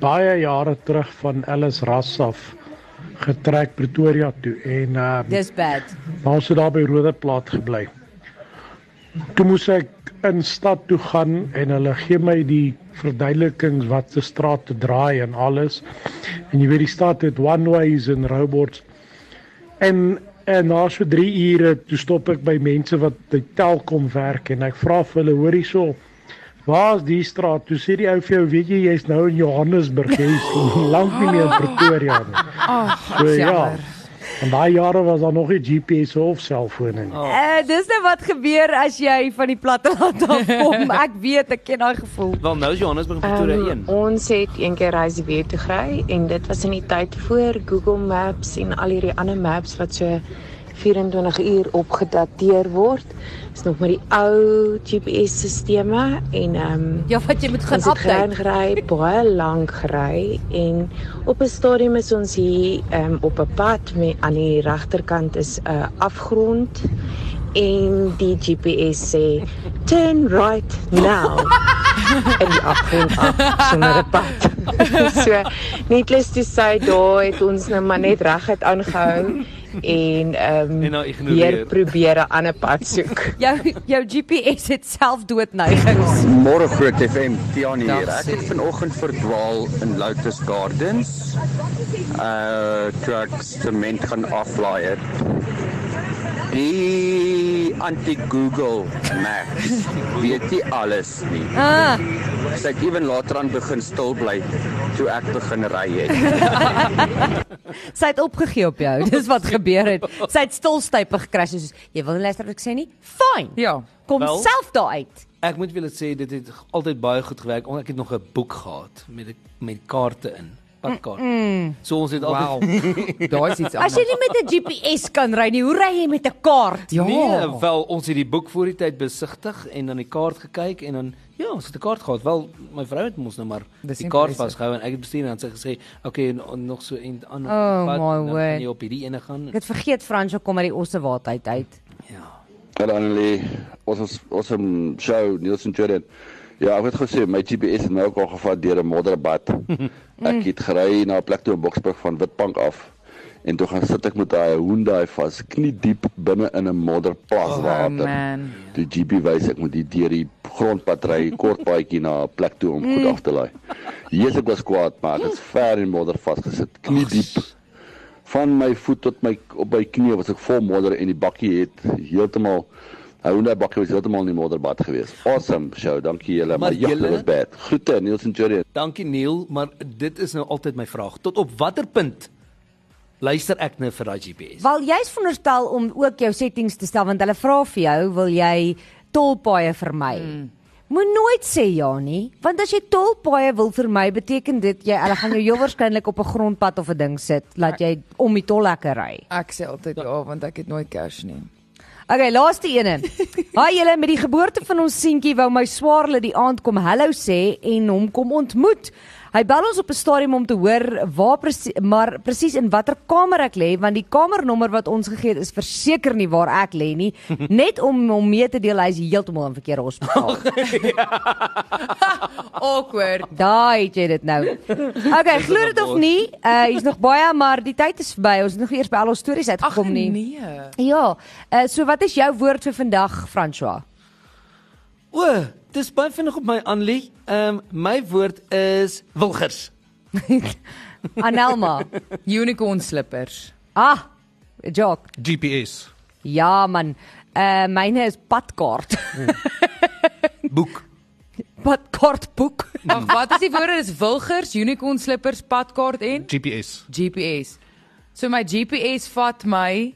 Speaker 11: baie jare terug van Ellis Ras af getrek Pretoria toe en uh
Speaker 2: Dis bad.
Speaker 11: Maar ons het daar by Rodeplaat gebly. Toe moes ek in stad toe gaan en hulle gee my die verduidelikings wat se straat te draai en alles. En jy weet die stad het one ways en robots. En en na so 3 ure toe stop ek by mense wat by Telkom werk en ek vra vir hulle hoor hierso Waar is die straat? Toe sê die ou vir jou, weet jy, jy's nou [LAUGHS] in Johannesburg, jy's lank nie meer in Pretoria nie.
Speaker 3: Ag,
Speaker 11: So
Speaker 3: dis
Speaker 11: ja.
Speaker 3: jammer.
Speaker 11: In daai jare was daar nog nie GPS of
Speaker 3: Ah.
Speaker 11: selfone nie.
Speaker 2: Eh dis nou wat gebeur as jy van die platte [LAUGHS] land af kom. Ek weet, ek ken daai gevoel.
Speaker 5: Wel nou is Johannesburg en Pretoria
Speaker 12: Ehm,
Speaker 5: 1.
Speaker 12: ons het een keer reis weer toe gery en dit was in die tyd voor Google Maps en al hierdie ander maps wat so 24 uur opgedateer word. Dis nog maar die ou GPS-sisteme en ehm um,
Speaker 2: Ja, wat jy moet gaan
Speaker 12: Ons
Speaker 2: update.
Speaker 12: het gery, baie lank gery en op 'n stadium is ons hier um, op 'n pad met aan die regterkant is 'n uh, afgrond en die GPS sê turn right
Speaker 2: [LAUGHS]
Speaker 12: now. en die afgrond af sonder 'n pad. [LAUGHS] so netless to say daar het ons nou maar net reguit aangehou en ehm
Speaker 5: En nou ignoreer.
Speaker 12: weer probeer 'n ander pad soek.
Speaker 2: Jou jou GPS het selfdoodneigings.
Speaker 9: [LAUGHS]
Speaker 13: Môre Groot FM Tiani
Speaker 2: Dag,
Speaker 13: hier. Ek het vanoggend verdwaal in Lotus Gardens. Uh trucks sement gaan aflaai het. Die anti-Google Maps weet nie alles nie.
Speaker 2: Ah.
Speaker 13: Sy het ewen later aan begin stil bly toe ek begin ry het.
Speaker 2: Sy het opgegee op jou. Dis wat gebeur het. Sy het stilstype gekrash soos jy wil nie luister wat ek sê nie. Fyn.
Speaker 3: Ja.
Speaker 2: Kom
Speaker 5: Wel.
Speaker 2: self daar uit.
Speaker 5: Ek moet wel sê dit het altyd baie goed gewerk. Ons- Ek het nog 'n boek gehad met 'n- met kaarte in, padkaarte.
Speaker 2: Mm.
Speaker 5: So ons het
Speaker 3: Wow.
Speaker 5: altyd
Speaker 3: Daai is iets
Speaker 2: As jy nie met 'n GPS kan ry nie, hoe ry jy met 'n kaart?
Speaker 3: Ja.
Speaker 5: Nee,
Speaker 3: Oh.
Speaker 5: wel ons het die boek voor die tyd besigtig en dan die kaart gekyk en dan ja, ons het 'n kaart gehad. Wel my vrou het mos nou maar
Speaker 3: Dis
Speaker 5: die
Speaker 3: impressive.
Speaker 5: kaart vasgehou en ek het bestuur en dan het sy gesê, "Oké, en- en nog so en ander nou
Speaker 2: Oh, my
Speaker 5: gaan
Speaker 2: word.
Speaker 5: jy op hierdie ene gaan."
Speaker 2: Ek het vergeet Fransjo kom uit die Ossewaard uit uit.
Speaker 14: Hallo Annelie, ons awesome show Nielsen Jordan. Ja, ek het gesê my GPS het my ook al gevat deur 'n
Speaker 3: [LAUGHS]
Speaker 14: modderbad. Ek het gery na 'n plek toe in Boksburg van Witbank af en toe gaan sit ek met daai Hyundai vas, knie diep binne in 'n modderplas
Speaker 3: Oh,
Speaker 14: water.
Speaker 3: man.
Speaker 14: Die GP wys ek moet die deur die grondpad
Speaker 3: [LAUGHS]
Speaker 14: ry, kort paadjie na 'n plek toe om
Speaker 3: Mm.
Speaker 14: goed af te laai. Jesus, ek was kwaad, maar ek is ver in modder vasgesit, knie diep. Van my voet tot my op my knie was ek vol modder en die bakkie het heeltemal Hyundai bakkie was heeltemal in die modderbad gewees. Awesome show, dankie julle, maar
Speaker 5: Maar
Speaker 14: ja,
Speaker 5: julle-
Speaker 14: dit was bad. Groete Niels en Jody.
Speaker 5: Dankie Neil, maar dit is nou altyd my vraag. Tot op watter punt luister ek nou vir daai GPS?
Speaker 2: Wel jy's veronderstel om ook jou settings te stel want hulle vra vir jou, wil jy tolpaaie vermy? Mm. Moet nooit sê ja nie, want as jy tolpaaie wil vermy, beteken dit jy hulle gaan jou heel waarskynlik op 'n grondpad of 'n ding sit, laat jy om die tolhekke ry.
Speaker 3: Ek sê altyd ja want ek het nooit cash nie.
Speaker 2: Okay, laaste
Speaker 3: [LAUGHS]
Speaker 2: ene. Haai julle met die geboorte van ons seentjie wou my swaarle die aand kom hallo sê en hom kom ontmoet. Hy bel ons op 'n stadium om te hoor waar presies maar presies in watter kamer ek lê want die kamernommer wat ons gegee het is verseker nie waar ek
Speaker 3: [LAUGHS]
Speaker 2: lê nie. Net om hom mee te deel hy is heeltemal in verkeerde
Speaker 3: Oh,
Speaker 2: hospitaal.
Speaker 3: Awkward.
Speaker 2: Daai het jy dit nou.
Speaker 3: [LAUGHS]
Speaker 2: Okay,
Speaker 3: Dis
Speaker 2: glo
Speaker 3: in 'n
Speaker 2: dit of
Speaker 3: bos.
Speaker 2: nie, uh hier's nog baie maar die tyd is verby. Ons het nog eers by al ons stories uitgekom nie.
Speaker 3: nee.
Speaker 2: Ja, uh, so wat is jou woord vir vandag, François?
Speaker 5: O, dis baie vinnig op my Anlie. Ehm um, my woord is wilgers.
Speaker 2: Anelma.
Speaker 3: Unicorn slippers.
Speaker 2: Ah, joke.
Speaker 4: GPS.
Speaker 2: Ja man, uh, myne is padkaart. [LAUGHS]
Speaker 5: boek.
Speaker 2: Padkaart boek.
Speaker 3: Ag, wat is die woorde? Dis wilgers, unicorn slippers, padkaart en
Speaker 4: GPS.
Speaker 3: GPS. So my GPS vat my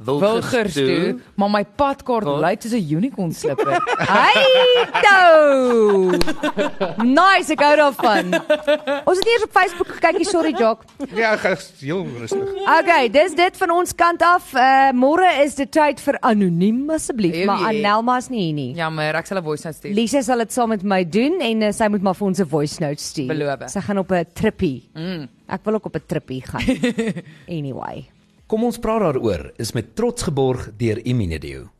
Speaker 4: Wilgers
Speaker 3: wilgers toe,
Speaker 4: toe.
Speaker 3: maar my padkaart lyk soos 'n unicorn slipper. [LAUGHS]
Speaker 2: Hey, toe. Nice, ek hou daarvan. Ons het nie eers op Facebook gekyk nie, sorry Jock.
Speaker 4: Ja, ek is heel rustig.
Speaker 2: Okay, dis dit van ons kant af. Uh, Môre is dit tyd vir anoniem asseblief,
Speaker 3: Ewie.
Speaker 2: maar Anelma is nie hier nie.
Speaker 3: Jammer, ek sal 'n voice note stuur.
Speaker 2: Lisa sal dit saam met my doen en uh, sy moet maar vir ons 'n voice note stuur.
Speaker 3: Beloof.
Speaker 2: Sy gaan op 'n trippie. Mm. Ek wil ook op 'n trippie gaan. anyway.
Speaker 15: Kom ons praat daaroor is met trots geborg deur Immunedio.